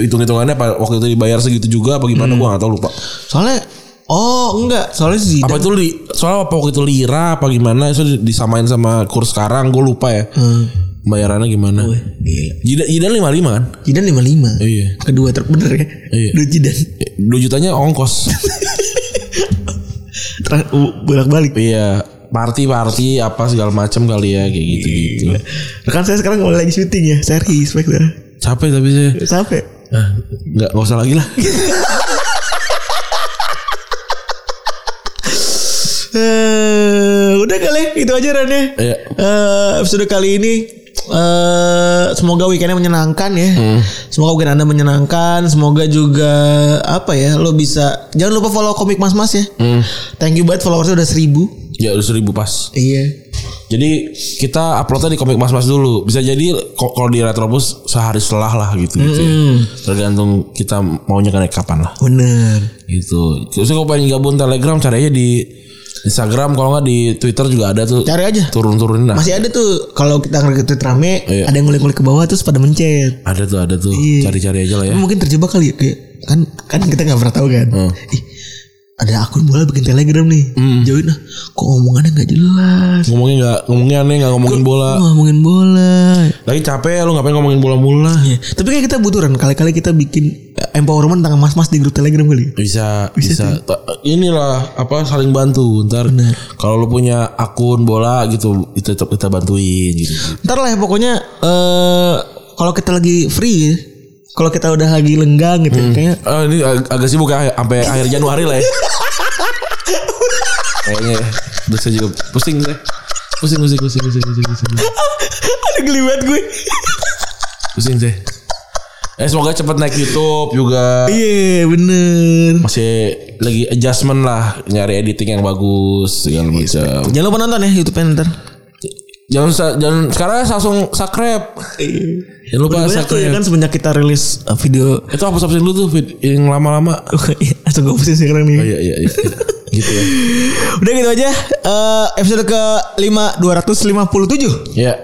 hitung hitungannya apa waktu itu dibayar segitu juga apa gimana gue nggak tahu lupa
Soalnya oh enggak, soalnya si Zidane-
apa itu li, soalnya apa waktu itu lira apa gimana itu di- disamain sama kurs sekarang gue lupa ya
Hmm.
bayarannya gimana
Gila.
jidan jidan lima lima kan
Zidane 55.
Iya.
Kedua terbener ya.
Iya.
Duit Zidane.
dua jutanya ongkos
Tra- uh, bolak-balik.
iya party party apa segala macam kali ya kayak gitu gitu
Rekan Iya. Kan saya sekarang lagi syuting ya, seri Spectre.
capek tapi saya
Capek.
ah, nggak nggak usah lagi lah
Eh, udah kali, itu aja Ran ya.
Iya.
Eh, episode kali ini eh semoga weekendnya menyenangkan ya.
Hmm.
Semoga weekend Anda menyenangkan. Semoga juga apa ya, lo bisa jangan lupa follow komik Mas Mas ya.
Hmm.
Thank you banget followersnya udah seribu.
ya udah seribu pas
Iya.
Jadi kita uploadnya di komik mas mas dulu. Bisa jadi ko- kalau di retrobus sehari setelah lah gitu. gitu ya.
Hmm.
Tergantung kita maunya kan kapan lah.
Bener.
Gitu. Terus kalau pengen gabung Telegram caranya di Instagram kalau nggak di Twitter juga ada tuh.
Cari aja.
Turun-turunin lah.
Ya. Masih ada tuh kalau kita ngerik tweet rame,
Iya.
ada yang ngulik-ngulik ke bawah terus pada mencet.
Ada tuh, ada tuh.
Iya.
Cari-cari aja lah ya.
Oh. Mungkin terjebak kali ya kayak kan kan kita nggak pernah tahu kan. Ih, ada akun bola bikin telegram nih jauhin ah kok omongannya nggak jelas
Ngomongnya nggak ngomongnya aneh nggak ngomongin bola.
Kok ngomongin bola
Lagi capek lu ngapain ngomongin bola mula?
Iya. Tapi kayak kita butuh Ren. Kali-kali kita bikin eh, empowerment tentang mas-mas di grup telegram kali.
Bisa bisa. Ta- Inilah apa saling bantu. Ntar kalau lu punya akun bola gitu itu tetap kita bantuin gitu.
Ntar lah ya, pokoknya eh kalau kita lagi free, kalau kita udah lagi lenggang gitu, kayaknya
Ah, ini ag- agak sibuk ya sampai akhir Januari lah ya. Kayaknya ya. Udah saya juga pusing saya. Pusing pusing pusing pusing pusing pusing.
ada geli banget gue.
Pusing saya. Eh semoga cepet naik YouTube juga.
Iya bener.
Masih lagi adjustment lah nyari editing yang bagus segala macam.
Jangan lupa nonton ya YouTube-nya ntar.
Jangan sa- jangan sekarang langsung subscribe. Jangan lupa
Banyak Iya. tuh ya
subscribe.
kan semenjak kita rilis eh, video
Itu apa subscribe dulu tuh vid- yang lama-lama.
Oh, Langsung gue iya. pusing sekarang nih
Oh iya iya iya. gitu ya.
Udah gitu aja eh, Episode ke 5 257
Ya.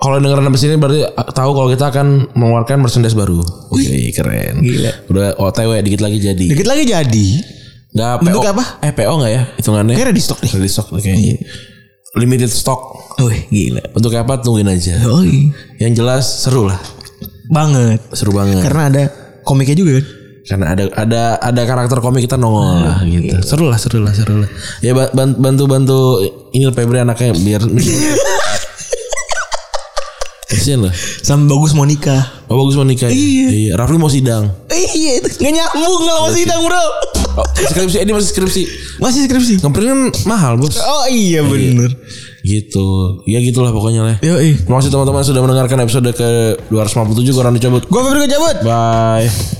Kalau dengerin sampai sini berarti eh, tahu kalau kita akan mengeluarkan merchandise baru. Wih, keren.
Gila.
Udah OTW dikit lagi jadi.
Dikit lagi jadi
Eh. Enggak PO.
Bentuk apa? Iya.
Eh PO enggak ya hitungannya?
Kayaknya ready stock nih
Ready stock kayaknya. Limited stock.
Wih gila
Untuk apa tungguin aja.
Yoi.
Yang jelas seru lah.
Banget
Seru banget. Karena,
Karena ada komiknya juga kan.
ada ada ada karakter komik kita
Ah,
nongol lah gitu.
iya.
Seru lah, seru lah, seru lah. Ya ba- ban- bantu-bantu ini Febri anaknya biar Kasian lah.
Sama bagus mau nikah.
Oh bagus mau nikah. ya?
Iya.
iya. Rafli mau sidang.
Iya itu nggak nyambung kalau
Iya,
masih hitam bro.
Oh, skripsi ini masih skripsi.
Masih skripsi.
Ngeprint kan mahal, Bos.
Oh iya bener.
Gitu. Ya gitulah pokoknya lah.
Yo
Terima kasih teman-teman sudah mendengarkan episode ke 257 Gua Randy cabut.
Gue Febri gue cabut.
Bye.